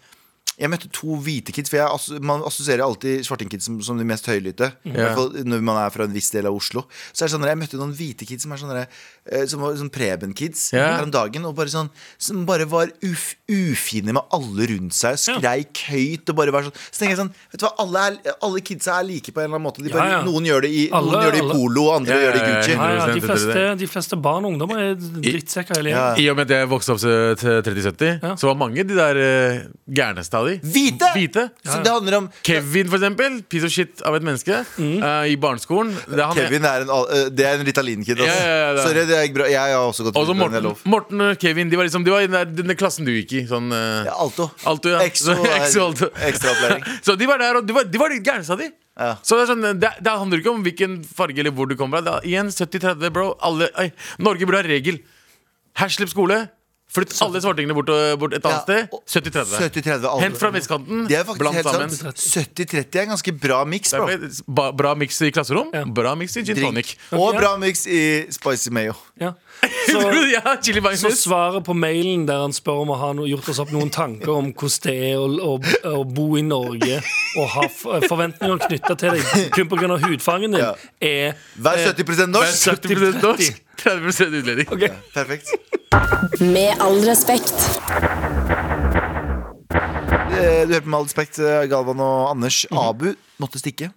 [SPEAKER 2] jeg møtte to hvite kids, for jeg, asso- man assosierer alltid svartingkids som, som de mest høylytte. I hvert fall når man er fra en viss del av Oslo. Så er det sånn der, Jeg møtte noen hvite kids som er sånn der, eh, Som var sånn Preben-kids
[SPEAKER 4] Ja.
[SPEAKER 2] her om dagen. Og bare sånn, som bare var uf, ufine med alle rundt seg. Skreik høyt og bare var sånn. Så tenker jeg sånn Vet du hva, alle, er, alle kidsa er like på en eller annen måte. De bare,
[SPEAKER 3] Ja, ja.
[SPEAKER 2] Noen gjør det i,
[SPEAKER 3] Alle-
[SPEAKER 2] noen gjør det i
[SPEAKER 3] alle.
[SPEAKER 2] polo, og andre
[SPEAKER 4] Ja,
[SPEAKER 2] gjør det i
[SPEAKER 4] ja, ja,
[SPEAKER 2] Gucci.
[SPEAKER 3] Ja, ja,
[SPEAKER 4] 100%
[SPEAKER 3] de,
[SPEAKER 4] det er
[SPEAKER 3] fleste,
[SPEAKER 4] det.
[SPEAKER 3] de fleste barn og ungdommer er drittsekker hele
[SPEAKER 2] Ja.
[SPEAKER 3] gjengen.
[SPEAKER 4] I og med at jeg vokste opp så- til 30-70,
[SPEAKER 3] Ja.
[SPEAKER 4] så var mange de der eh, gærneste av de.
[SPEAKER 2] Hvite!
[SPEAKER 4] Hvite.
[SPEAKER 2] Så det handler om
[SPEAKER 4] Kevin, for eksempel. Piece of shit av et menneske. eh, I barneskolen. Det er han-
[SPEAKER 2] Kevin er en, al- eh, det er en Ritalin-kid. Altså.
[SPEAKER 4] Ja, ja, ja, det er-
[SPEAKER 2] Sorry, det er ikke bra. Jeg har også gått
[SPEAKER 4] Og så
[SPEAKER 2] Ritalin, det er
[SPEAKER 4] Morten,
[SPEAKER 2] lov.
[SPEAKER 4] Morten og Kevin. De var liksom De var i den, der, den der klassen du gikk i. Sånn eh,
[SPEAKER 2] Ja, Alto.
[SPEAKER 4] Alto, ja.
[SPEAKER 2] Exo er-
[SPEAKER 4] Exo, Alto.
[SPEAKER 2] Ekstraopplæring.
[SPEAKER 4] Så de var der, og de var, de var de gærneste av de.
[SPEAKER 2] Ja.
[SPEAKER 4] Så det, er sånn, det, det handler ikke om hvilken farge eller hvor du kommer fra. Det er- Igjen 70-30, bro. Alle, ei, Norge burde ha regel. Her slipp skole. Flytt alle svartingene bort, og- bort et
[SPEAKER 2] Ja,
[SPEAKER 4] annet
[SPEAKER 2] og-
[SPEAKER 4] sted. 70-30.
[SPEAKER 2] 70-30, alle.
[SPEAKER 4] Hent fra vestkanten.
[SPEAKER 2] Det er faktisk
[SPEAKER 4] Bland
[SPEAKER 2] helt
[SPEAKER 4] sammen.
[SPEAKER 2] sant. 70-30 er en ganske bra miks, bro.
[SPEAKER 4] Derfor, ba, bra miks i klasserom, bra miks i gin tonic.
[SPEAKER 2] Drink. Og bra miks i spicy mayo.
[SPEAKER 3] Ja. Så,
[SPEAKER 4] ja, chili
[SPEAKER 3] så
[SPEAKER 4] majones.
[SPEAKER 3] svaret på mailen der han spør om å ha no, gjort oss opp noen tanker om hvordan det er å, å, å bo i Norge og ha f forventninger knytta til deg kun pga. hudfargen din,
[SPEAKER 2] Ja.
[SPEAKER 3] er
[SPEAKER 2] Vær 70 norsk.
[SPEAKER 4] 70 Eh, norsk, 30 utlending.
[SPEAKER 2] Perfekt.
[SPEAKER 6] Med all respekt.
[SPEAKER 2] eh, Du hører på med all respekt, eh, Galvan og Anders.
[SPEAKER 3] Mhm.
[SPEAKER 2] Abu måtte stikke.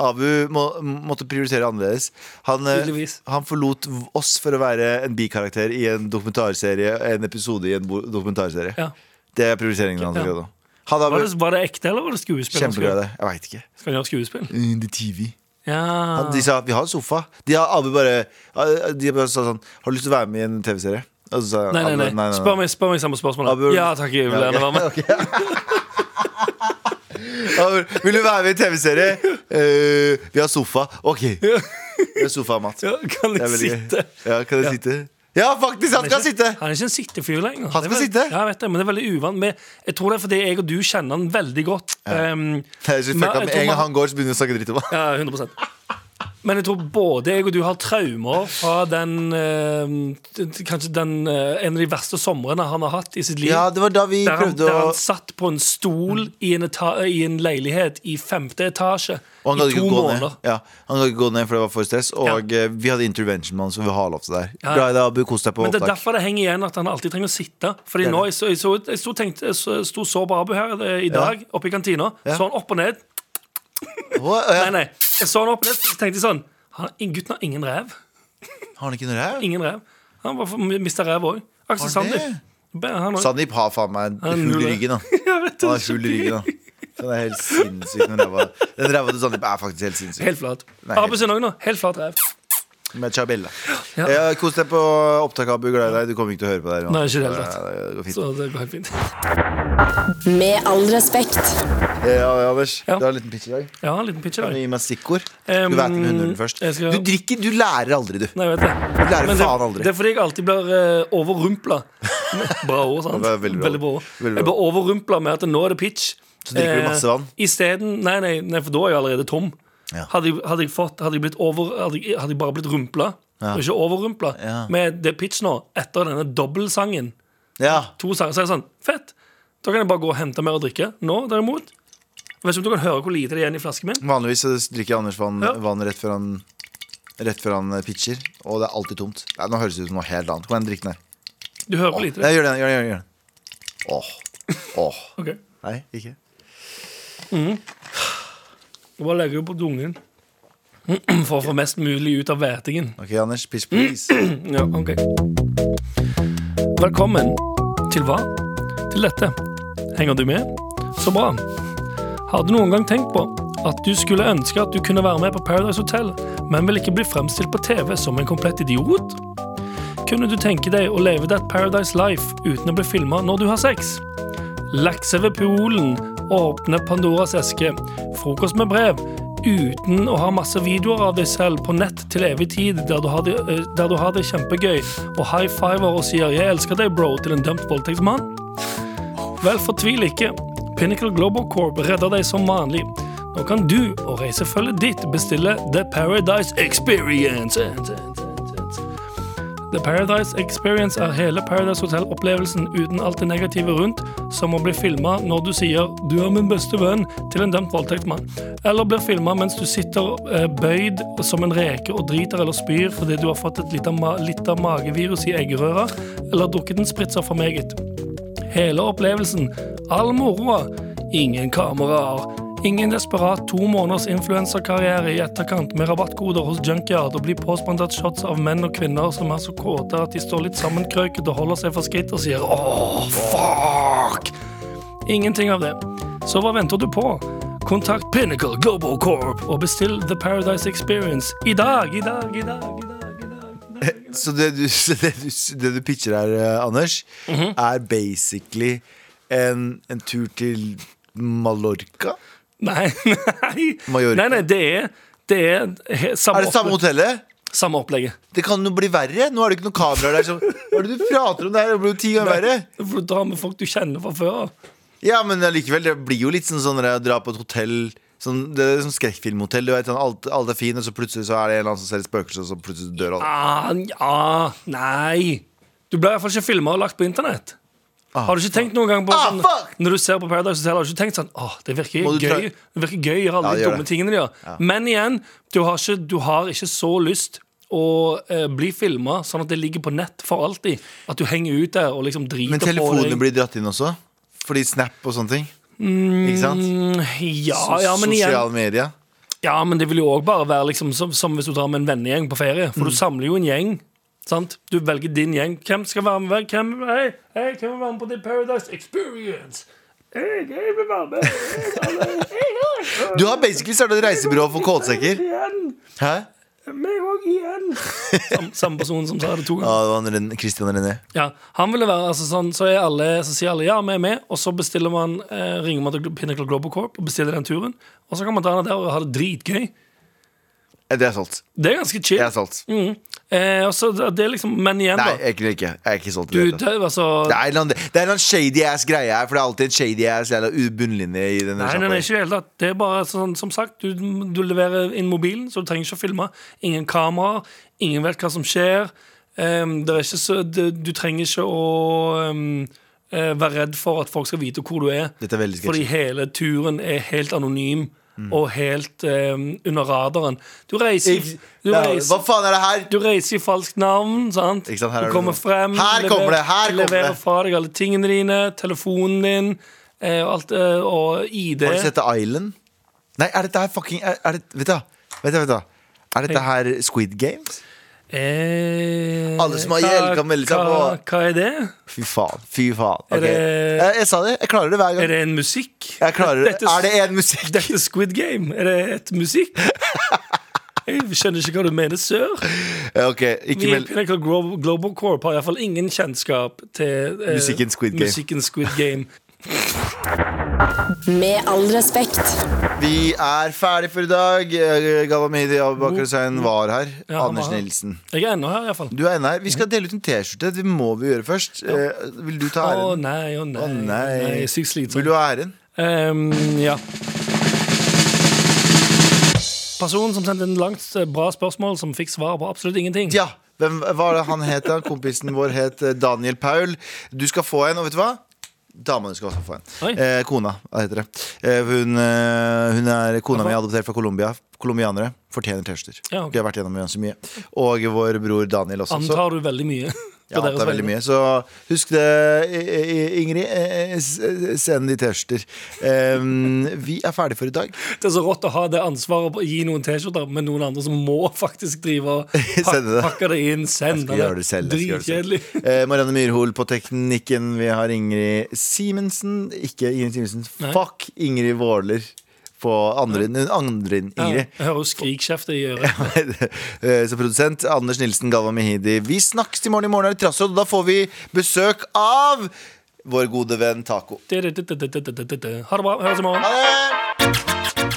[SPEAKER 2] Abu må, måtte prioritere annerledes. Han, eh,
[SPEAKER 3] Tydeligvis.
[SPEAKER 2] han forlot v- oss for å være en bikarakter i en dokumentarserie En episode i en bo- dokumentarserie.
[SPEAKER 3] Ja.
[SPEAKER 2] Det er prioriteringen hans.
[SPEAKER 3] Ja.
[SPEAKER 2] akkurat nå. Ha det,
[SPEAKER 3] Var
[SPEAKER 2] Abu.
[SPEAKER 3] det, var det ekte, eller var det skuespill? han skulle
[SPEAKER 2] Kjempebra,
[SPEAKER 3] gjøre?
[SPEAKER 2] det. Jeg veit ikke.
[SPEAKER 3] Skal han gjøre skuespill?
[SPEAKER 2] Mm, The TV.
[SPEAKER 3] Ja.
[SPEAKER 2] Han,
[SPEAKER 3] Ah.
[SPEAKER 2] de sa vi har en sofa. De har Abu bare De bare sa sånn Har du lyst til å være med i en TV-serie? Og så sa
[SPEAKER 3] Nei, nei,
[SPEAKER 2] Abu,
[SPEAKER 3] nei. Spør meg, spør meg samme spørsmål.
[SPEAKER 2] Abu-
[SPEAKER 3] da. Ja takk, jeg vil
[SPEAKER 2] Ja,
[SPEAKER 3] gjerne
[SPEAKER 2] ok.
[SPEAKER 3] være med.
[SPEAKER 2] Abu, Vil du være med i en TV-serie? Eh, vi har sofa. OK. Vi har sofa, Mats.
[SPEAKER 3] Ja, kan
[SPEAKER 2] Det er
[SPEAKER 3] jeg
[SPEAKER 2] veldig gøy.
[SPEAKER 3] sitte?
[SPEAKER 2] Ja, kan jeg sitte? Ja, faktisk! Han skal sitte!
[SPEAKER 3] Han er ikke en sittefyr
[SPEAKER 2] Han
[SPEAKER 3] lenger. Det er
[SPEAKER 2] skal
[SPEAKER 3] vel-
[SPEAKER 2] sitte.
[SPEAKER 3] Ja, jeg vet det, men det er veldig uvant. Men jeg tror det er fordi jeg og du kjenner han veldig godt. Um,
[SPEAKER 2] Det er så
[SPEAKER 3] men
[SPEAKER 2] fucka
[SPEAKER 3] jeg
[SPEAKER 2] med
[SPEAKER 3] tror
[SPEAKER 2] En gang
[SPEAKER 3] man-
[SPEAKER 2] han går, så begynner han å snakke dritt om ham.
[SPEAKER 3] Ja, 100 Men jeg tror både jeg og du har traumer fra den eh, t- Kanskje den, eh, en av de verste somrene han har hatt i sitt liv.
[SPEAKER 2] Ja, det var da vi
[SPEAKER 3] der, han,
[SPEAKER 2] prøvde
[SPEAKER 3] der
[SPEAKER 2] å
[SPEAKER 3] han satt på en stol i en, eta i en leilighet i femte etasje
[SPEAKER 2] og han
[SPEAKER 3] i
[SPEAKER 2] gadd
[SPEAKER 3] to
[SPEAKER 2] ikke gå ned.
[SPEAKER 3] måneder.
[SPEAKER 2] Ja, han gadd ikke gå ned, for det var for stress. Og eh, vi hadde intervention med han, så vi har lov til det her.
[SPEAKER 3] Ja.
[SPEAKER 2] Bra i deg, Abu. Kos deg på
[SPEAKER 3] Men det er
[SPEAKER 2] opptak.
[SPEAKER 3] derfor det henger igjen at han alltid trenger å sitte.
[SPEAKER 2] Det
[SPEAKER 3] Fordi
[SPEAKER 2] er
[SPEAKER 3] nå,
[SPEAKER 2] det.
[SPEAKER 3] jeg, så, jeg, så, jeg, sto, tenkte, jeg så- sto så på Abu her eh, i dag, oppe i kantina. Så han opp og ned.
[SPEAKER 2] Å, ja.
[SPEAKER 3] Nei, nei. Jeg så han opp og ned, så tenkte jeg sånn han, Gutten har ingen rev.
[SPEAKER 2] Har han ikke noe ræv?
[SPEAKER 3] Ingen rev. Han var mista rev òg.
[SPEAKER 2] Har
[SPEAKER 3] Aksel
[SPEAKER 2] det?
[SPEAKER 3] Sandeep. Be- Han har
[SPEAKER 2] Sandeep har faen meg
[SPEAKER 3] er
[SPEAKER 2] hull i
[SPEAKER 3] null,
[SPEAKER 2] ryggen, da. Han har hull i ryggen, da. Den er helt sinnssyk. Den ræva Den ræva til Sandeep er faktisk helt sinnssyk.
[SPEAKER 3] helt flat.
[SPEAKER 2] Nei,
[SPEAKER 3] Abu sin òg nå. Helt flat rev.
[SPEAKER 2] Med Chabella.
[SPEAKER 3] Ja.
[SPEAKER 2] Eh, Kos deg på opptaket, Abu. Glad i deg. Du kommer ikke til å høre på det her. nå.
[SPEAKER 3] Nei, ikke i det hele tatt.
[SPEAKER 2] Nei, nei, det går fint.
[SPEAKER 3] Så det går helt fint.
[SPEAKER 6] Med all respekt.
[SPEAKER 2] Eh, Ja, ja, Anders,
[SPEAKER 3] Ja.
[SPEAKER 2] du har en liten pitch i dag.
[SPEAKER 3] Ja, en liten pitch i
[SPEAKER 2] Kan du
[SPEAKER 3] dag.
[SPEAKER 2] gi meg stikkord?
[SPEAKER 3] Um,
[SPEAKER 2] du vet med hunderen først.
[SPEAKER 3] jeg skal-
[SPEAKER 2] Du drikker, du lærer aldri, du.
[SPEAKER 3] Nei, jeg vet det.
[SPEAKER 2] Du lærer
[SPEAKER 3] Men det,
[SPEAKER 2] faen aldri.
[SPEAKER 3] det er fordi jeg alltid blir uh, overrumpla. Bra ord,
[SPEAKER 2] Det
[SPEAKER 3] sant?
[SPEAKER 2] var veldig bra.
[SPEAKER 3] ord.
[SPEAKER 2] Veldig bra.
[SPEAKER 3] Jeg blir overrumpla med at nå er det pitch.
[SPEAKER 2] Så drikker du masse vann?
[SPEAKER 3] Isteden nei, nei, nei, for da er jeg allerede tom.
[SPEAKER 2] Ja.
[SPEAKER 3] Hadde, jeg- hadde, jeg fått, hadde, jeg blitt over, hadde, jeg, hadde jeg bare blitt rumpla, og ikke overrumpla,
[SPEAKER 2] Ja.
[SPEAKER 3] med det pitch nå, etter denne dobbeltsangen
[SPEAKER 2] Ja.
[SPEAKER 3] To sanger, så er det sånn Fett! Da kan jeg bare gå og hente mer å drikke. Nå, derimot Jeg vet ikke om du kan høre hvor lite det er igjen i flasken min.
[SPEAKER 2] Vanligvis så drikker Anders vann,
[SPEAKER 3] Ja.
[SPEAKER 2] vann rett før han Rett før han eh, pitcher, og det er alltid tomt. Nei, nå høres det ut som noe helt annet. Kom igjen, drikk den her.
[SPEAKER 3] Du hører hvor lite
[SPEAKER 2] Nei,
[SPEAKER 3] det er.
[SPEAKER 2] gjør det, gjør det, gjør det. Åh. Åh.
[SPEAKER 3] Ok.
[SPEAKER 2] Nei, ikke.
[SPEAKER 3] Du bare legger det på dungen for å få mest mulig ut av vætingen.
[SPEAKER 2] Ok, Anders, pitch please.
[SPEAKER 3] Ja, ok Velkommen til hva? Til dette Henger du med? Så bra Har du noen gang tenkt på at du skulle ønske at du kunne være med på Paradise Hotel Men vil ikke bli fremstilt på TV som en komplett idiot? Kunne du tenke deg å leve that Paradise Life uten å bli filmet når du har sex? Lakse ved poolen Åpne Pandoras eske Frokost med brev Uten å ha masse videoer av deg selv På nett til evig tid Der du har det, eh, der du har det kjempegøy Og high fiver og sier Jeg elsker deg bro til en dømt voldtektsmann Vel, fortvil ikke Pinnacle Global Corp redder deg som vanlig Nå kan du og reisefølget ditt Bestille The Paradise Experience The Paradise Experience er hele Paradise Hotel-opplevelsen uten alt det negative rundt, som å bli filma når du sier 'du er min beste venn' til en dømt voldtektsmann, eller blir filma mens du sitter eh, bøyd som en reke og driter eller spyr fordi du har fått et lite, ma lite magevirus i eggerøra, eller drukket en spritzer for meget. Hele opplevelsen, all moroa, ingen kameraer, ingen desperat to måneders influenserkarriere i etterkant med rabattkoder hos Junkyard og blir påspandert shots av menn og kvinner som er så kåte at de står litt sammenkrøket og holder seg for skritt og sier åh, fuck! Ingenting av det. Så hva venter du på? Kontakt Pinnacle Global Corp og bestill The Paradise Experience i dag, i dag, i dag, i dag. i dag, i dag.
[SPEAKER 2] Så det du, så det du, det du pitcher her, eh, Anders,
[SPEAKER 3] Mhm.
[SPEAKER 2] er basically en, en tur til Mallorca?
[SPEAKER 3] Nei, nei.
[SPEAKER 2] Mallorca.
[SPEAKER 3] nei, nei det er, det er, he, samme,
[SPEAKER 2] Er det samme
[SPEAKER 3] opplegg.
[SPEAKER 2] hotellet?
[SPEAKER 3] Samme opplegget.
[SPEAKER 2] Det kan jo bli verre. Nå er det ikke noen kameraer der. Som, hva er det du prater om? Det her blir jo ti ganger verre.
[SPEAKER 3] Du får dra med folk du kjenner fra før av.
[SPEAKER 2] Ja, men allikevel, det blir jo litt sånn sånn når jeg drar på et hotell sånn, Det er sånn skrekkfilmhotell. Du vet, sånn, alt, alt er fint, og så plutselig så er det en eller annen som ser et spøkelse, og så plutselig dør alle.
[SPEAKER 3] Ah, ja, nei. Du blir iallfall ikke filma og lagt på internett. har du ikke tenkt noen gang på
[SPEAKER 2] Ah,
[SPEAKER 3] sånn,
[SPEAKER 2] fuck!
[SPEAKER 3] Når du ser på Paradise Hotel, har du ikke tenkt sånn Åh, det virker
[SPEAKER 2] Må du
[SPEAKER 3] gøy Det virker gøy å gjøre alle
[SPEAKER 2] Ja, det
[SPEAKER 3] de
[SPEAKER 2] gjør
[SPEAKER 3] dumme
[SPEAKER 2] det.
[SPEAKER 3] tingene de gjør. Men igjen, du har ikke, du har ikke så lyst å eh, bli filma sånn at det ligger på nett for alltid. At du henger ut der og liksom driter
[SPEAKER 2] Men
[SPEAKER 3] på deg.
[SPEAKER 2] telefonene blir dratt inn også. Fordi Snap og sånne ting. Ikke sant?
[SPEAKER 3] Mm, Ja, ja, men igjen
[SPEAKER 2] Sosiale medier.
[SPEAKER 3] Ja, men det vil jo òg bare være liksom som, som hvis du drar med en vennegjeng på ferie. For du samler jo en gjeng. Sant? Du velger din gjeng. Hvem skal være med? Hvem, hei, hei, hvem vil være med på The Paradise Experience? Hei, jeg vil være med.
[SPEAKER 2] Du har basically startet et reisebyrå for kålsekker.
[SPEAKER 3] Igjen.
[SPEAKER 2] Hæ?
[SPEAKER 3] Meg òg igjen. Sam, samme person som sa det to
[SPEAKER 2] Ja,
[SPEAKER 3] ganger.
[SPEAKER 2] det var Ren- Christian René.
[SPEAKER 3] Ja, han ville være, altså sånn, så, er alle, så sier alle ja, vi er med, og så bestiller man, eh, ringer man til Pinnacle Global Corp og bestiller den turen. Og så kan man dra ned der og ha det dritgøy.
[SPEAKER 2] Eh, Det er solgt.
[SPEAKER 3] Det er ganske chill.
[SPEAKER 2] Jeg er solgt.
[SPEAKER 3] Eh, og så det er liksom, men igjen,
[SPEAKER 2] Nei,
[SPEAKER 3] da.
[SPEAKER 2] jeg er ikke. Jeg er ikke solgt. i
[SPEAKER 3] Du,
[SPEAKER 2] det hele tatt.
[SPEAKER 3] det, altså,
[SPEAKER 2] Det er en eller annen- det er en eller annen shady ass greie her, for det er alltid en shady ass jævla bunnlinje i denne
[SPEAKER 3] Nei, nei,
[SPEAKER 2] sjappa.
[SPEAKER 3] nei, ikke i det hele tatt. Det er bare sånn, som sagt, du, du leverer inn mobilen, så du trenger ikke å filme. Ingen kameraer, ingen vet hva som skjer. Ehm, det er ikke så, det, du trenger ikke å ehm, eh, være redd for at folk skal vite hvor du er.
[SPEAKER 2] Dette er veldig sketchy. Mm.
[SPEAKER 3] fordi hele turen er helt anonym og helt ehm, under radaren. Du reiser,
[SPEAKER 2] Ikke-
[SPEAKER 3] du
[SPEAKER 2] Nei,
[SPEAKER 3] reiser
[SPEAKER 2] Hva faen er det her?
[SPEAKER 3] du reiser i falskt navn, sant?
[SPEAKER 2] Ikke sant, her er
[SPEAKER 3] du
[SPEAKER 2] det
[SPEAKER 3] kommer
[SPEAKER 2] noe.
[SPEAKER 3] frem,
[SPEAKER 2] Her
[SPEAKER 3] lever-
[SPEAKER 2] kommer det, her kommer
[SPEAKER 3] leverer
[SPEAKER 2] det.
[SPEAKER 3] fra deg alle tingene dine, telefonen din, eh, og alt, eh, og ID.
[SPEAKER 2] Har du sett The Island? Nei, er dette her fucking er, er det, Vet du, hva? vet du, vet du. hva? Er dette her Squid Games?
[SPEAKER 3] Eh,
[SPEAKER 2] Alle som har gjeld kan melde seg
[SPEAKER 3] hva-
[SPEAKER 2] på.
[SPEAKER 3] Hva er det?
[SPEAKER 2] Fy faen. Fy faen. Ok.
[SPEAKER 3] Er
[SPEAKER 2] Eh,
[SPEAKER 3] det-
[SPEAKER 2] Jeg, jeg sa det. Jeg klarer det hver
[SPEAKER 3] Er
[SPEAKER 2] gang.
[SPEAKER 3] det en musikk?
[SPEAKER 2] Jeg klarer det.
[SPEAKER 3] Dette-
[SPEAKER 2] Er det én musikk?
[SPEAKER 3] Dette er Squid Game. Er det et musikk? Jeg skjønner ikke hva du mener, sør.
[SPEAKER 2] Ja, Ok, ikke
[SPEAKER 3] Vi i
[SPEAKER 2] meld
[SPEAKER 3] Pinnacle Glo- Global Corp har iallfall ingen kjennskap til eh,
[SPEAKER 2] Musikken Squid Game.
[SPEAKER 3] musikken Squid Game.
[SPEAKER 6] Med all respekt.
[SPEAKER 2] Vi er ferdig for i dag. Eh, Galva Mehdi Abubakar Hussein var her.
[SPEAKER 3] Ja, han
[SPEAKER 2] Anders
[SPEAKER 3] var her.
[SPEAKER 2] Nilsen.
[SPEAKER 3] Jeg er ennå her, iallfall.
[SPEAKER 2] Du er inne her. Vi skal dele ut en T-skjorte. Det må vi gjøre først. Eh, Vil du ta
[SPEAKER 3] Å
[SPEAKER 2] æren?
[SPEAKER 3] nei, å nei.
[SPEAKER 2] Å, nei.
[SPEAKER 3] nei Sykt slitsomt.
[SPEAKER 2] Vil du ha æren?
[SPEAKER 3] Ehm, ja. Personen som sendte en langt eh, bra spørsmål, som fikk svar på absolutt ingenting.
[SPEAKER 2] Ja. Hvem var det han het? da? Kompisen vår het eh, Daniel Paul. Du skal få en, og vet du hva? Dama du skal også få en.
[SPEAKER 3] Oi.
[SPEAKER 2] Eh, kona, hva heter det. Eh, hun, eh, hun er kona mi, adoptert fra Colombia. Colombianere fortjener T-skjorter.
[SPEAKER 3] Ja, ok.
[SPEAKER 2] De har vært gjennom ganske mye. Og vår bror Daniel også. så-
[SPEAKER 3] Antar du veldig mye?
[SPEAKER 2] Ja,
[SPEAKER 3] på deres
[SPEAKER 2] det er veldig
[SPEAKER 3] vegne?
[SPEAKER 2] mye. Så husk det, I- I- Ingrid. eh, s- Send de T-skjorter. Em, vi er ferdig for i dag.
[SPEAKER 3] Det er så rått å ha det ansvaret på å gi noen T-skjorter, men noen andre som må faktisk drive og pak
[SPEAKER 2] Sende det.
[SPEAKER 3] pakke det inn. Sende
[SPEAKER 2] Skal gjøre det selv. jeg skal gjøre
[SPEAKER 3] Dritkjedelig.
[SPEAKER 2] det selv. Eh, Marianne Myrhol på teknikken. Vi har Ingrid Simensen. Ikke Ingrid Simensen.
[SPEAKER 3] Nei.
[SPEAKER 2] Fuck Ingrid Våler på andre, den andre
[SPEAKER 3] Ja,
[SPEAKER 2] Ingrid.
[SPEAKER 3] jeg hører jo skrikkjefter i øret.
[SPEAKER 2] Eh, Så produsent Anders Nilsen, Galva Mehidi. Vi snakkes i morgen. I morgen er det trassråd, og da får vi besøk av vår gode venn Taco.
[SPEAKER 3] Ha det bra. Høres i morgen.
[SPEAKER 2] Ha det!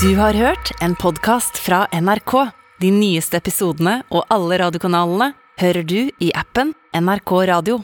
[SPEAKER 1] Du har hørt en podkast fra NRK. De nyeste episodene og alle radiokanalene hører du i appen NRK Radio.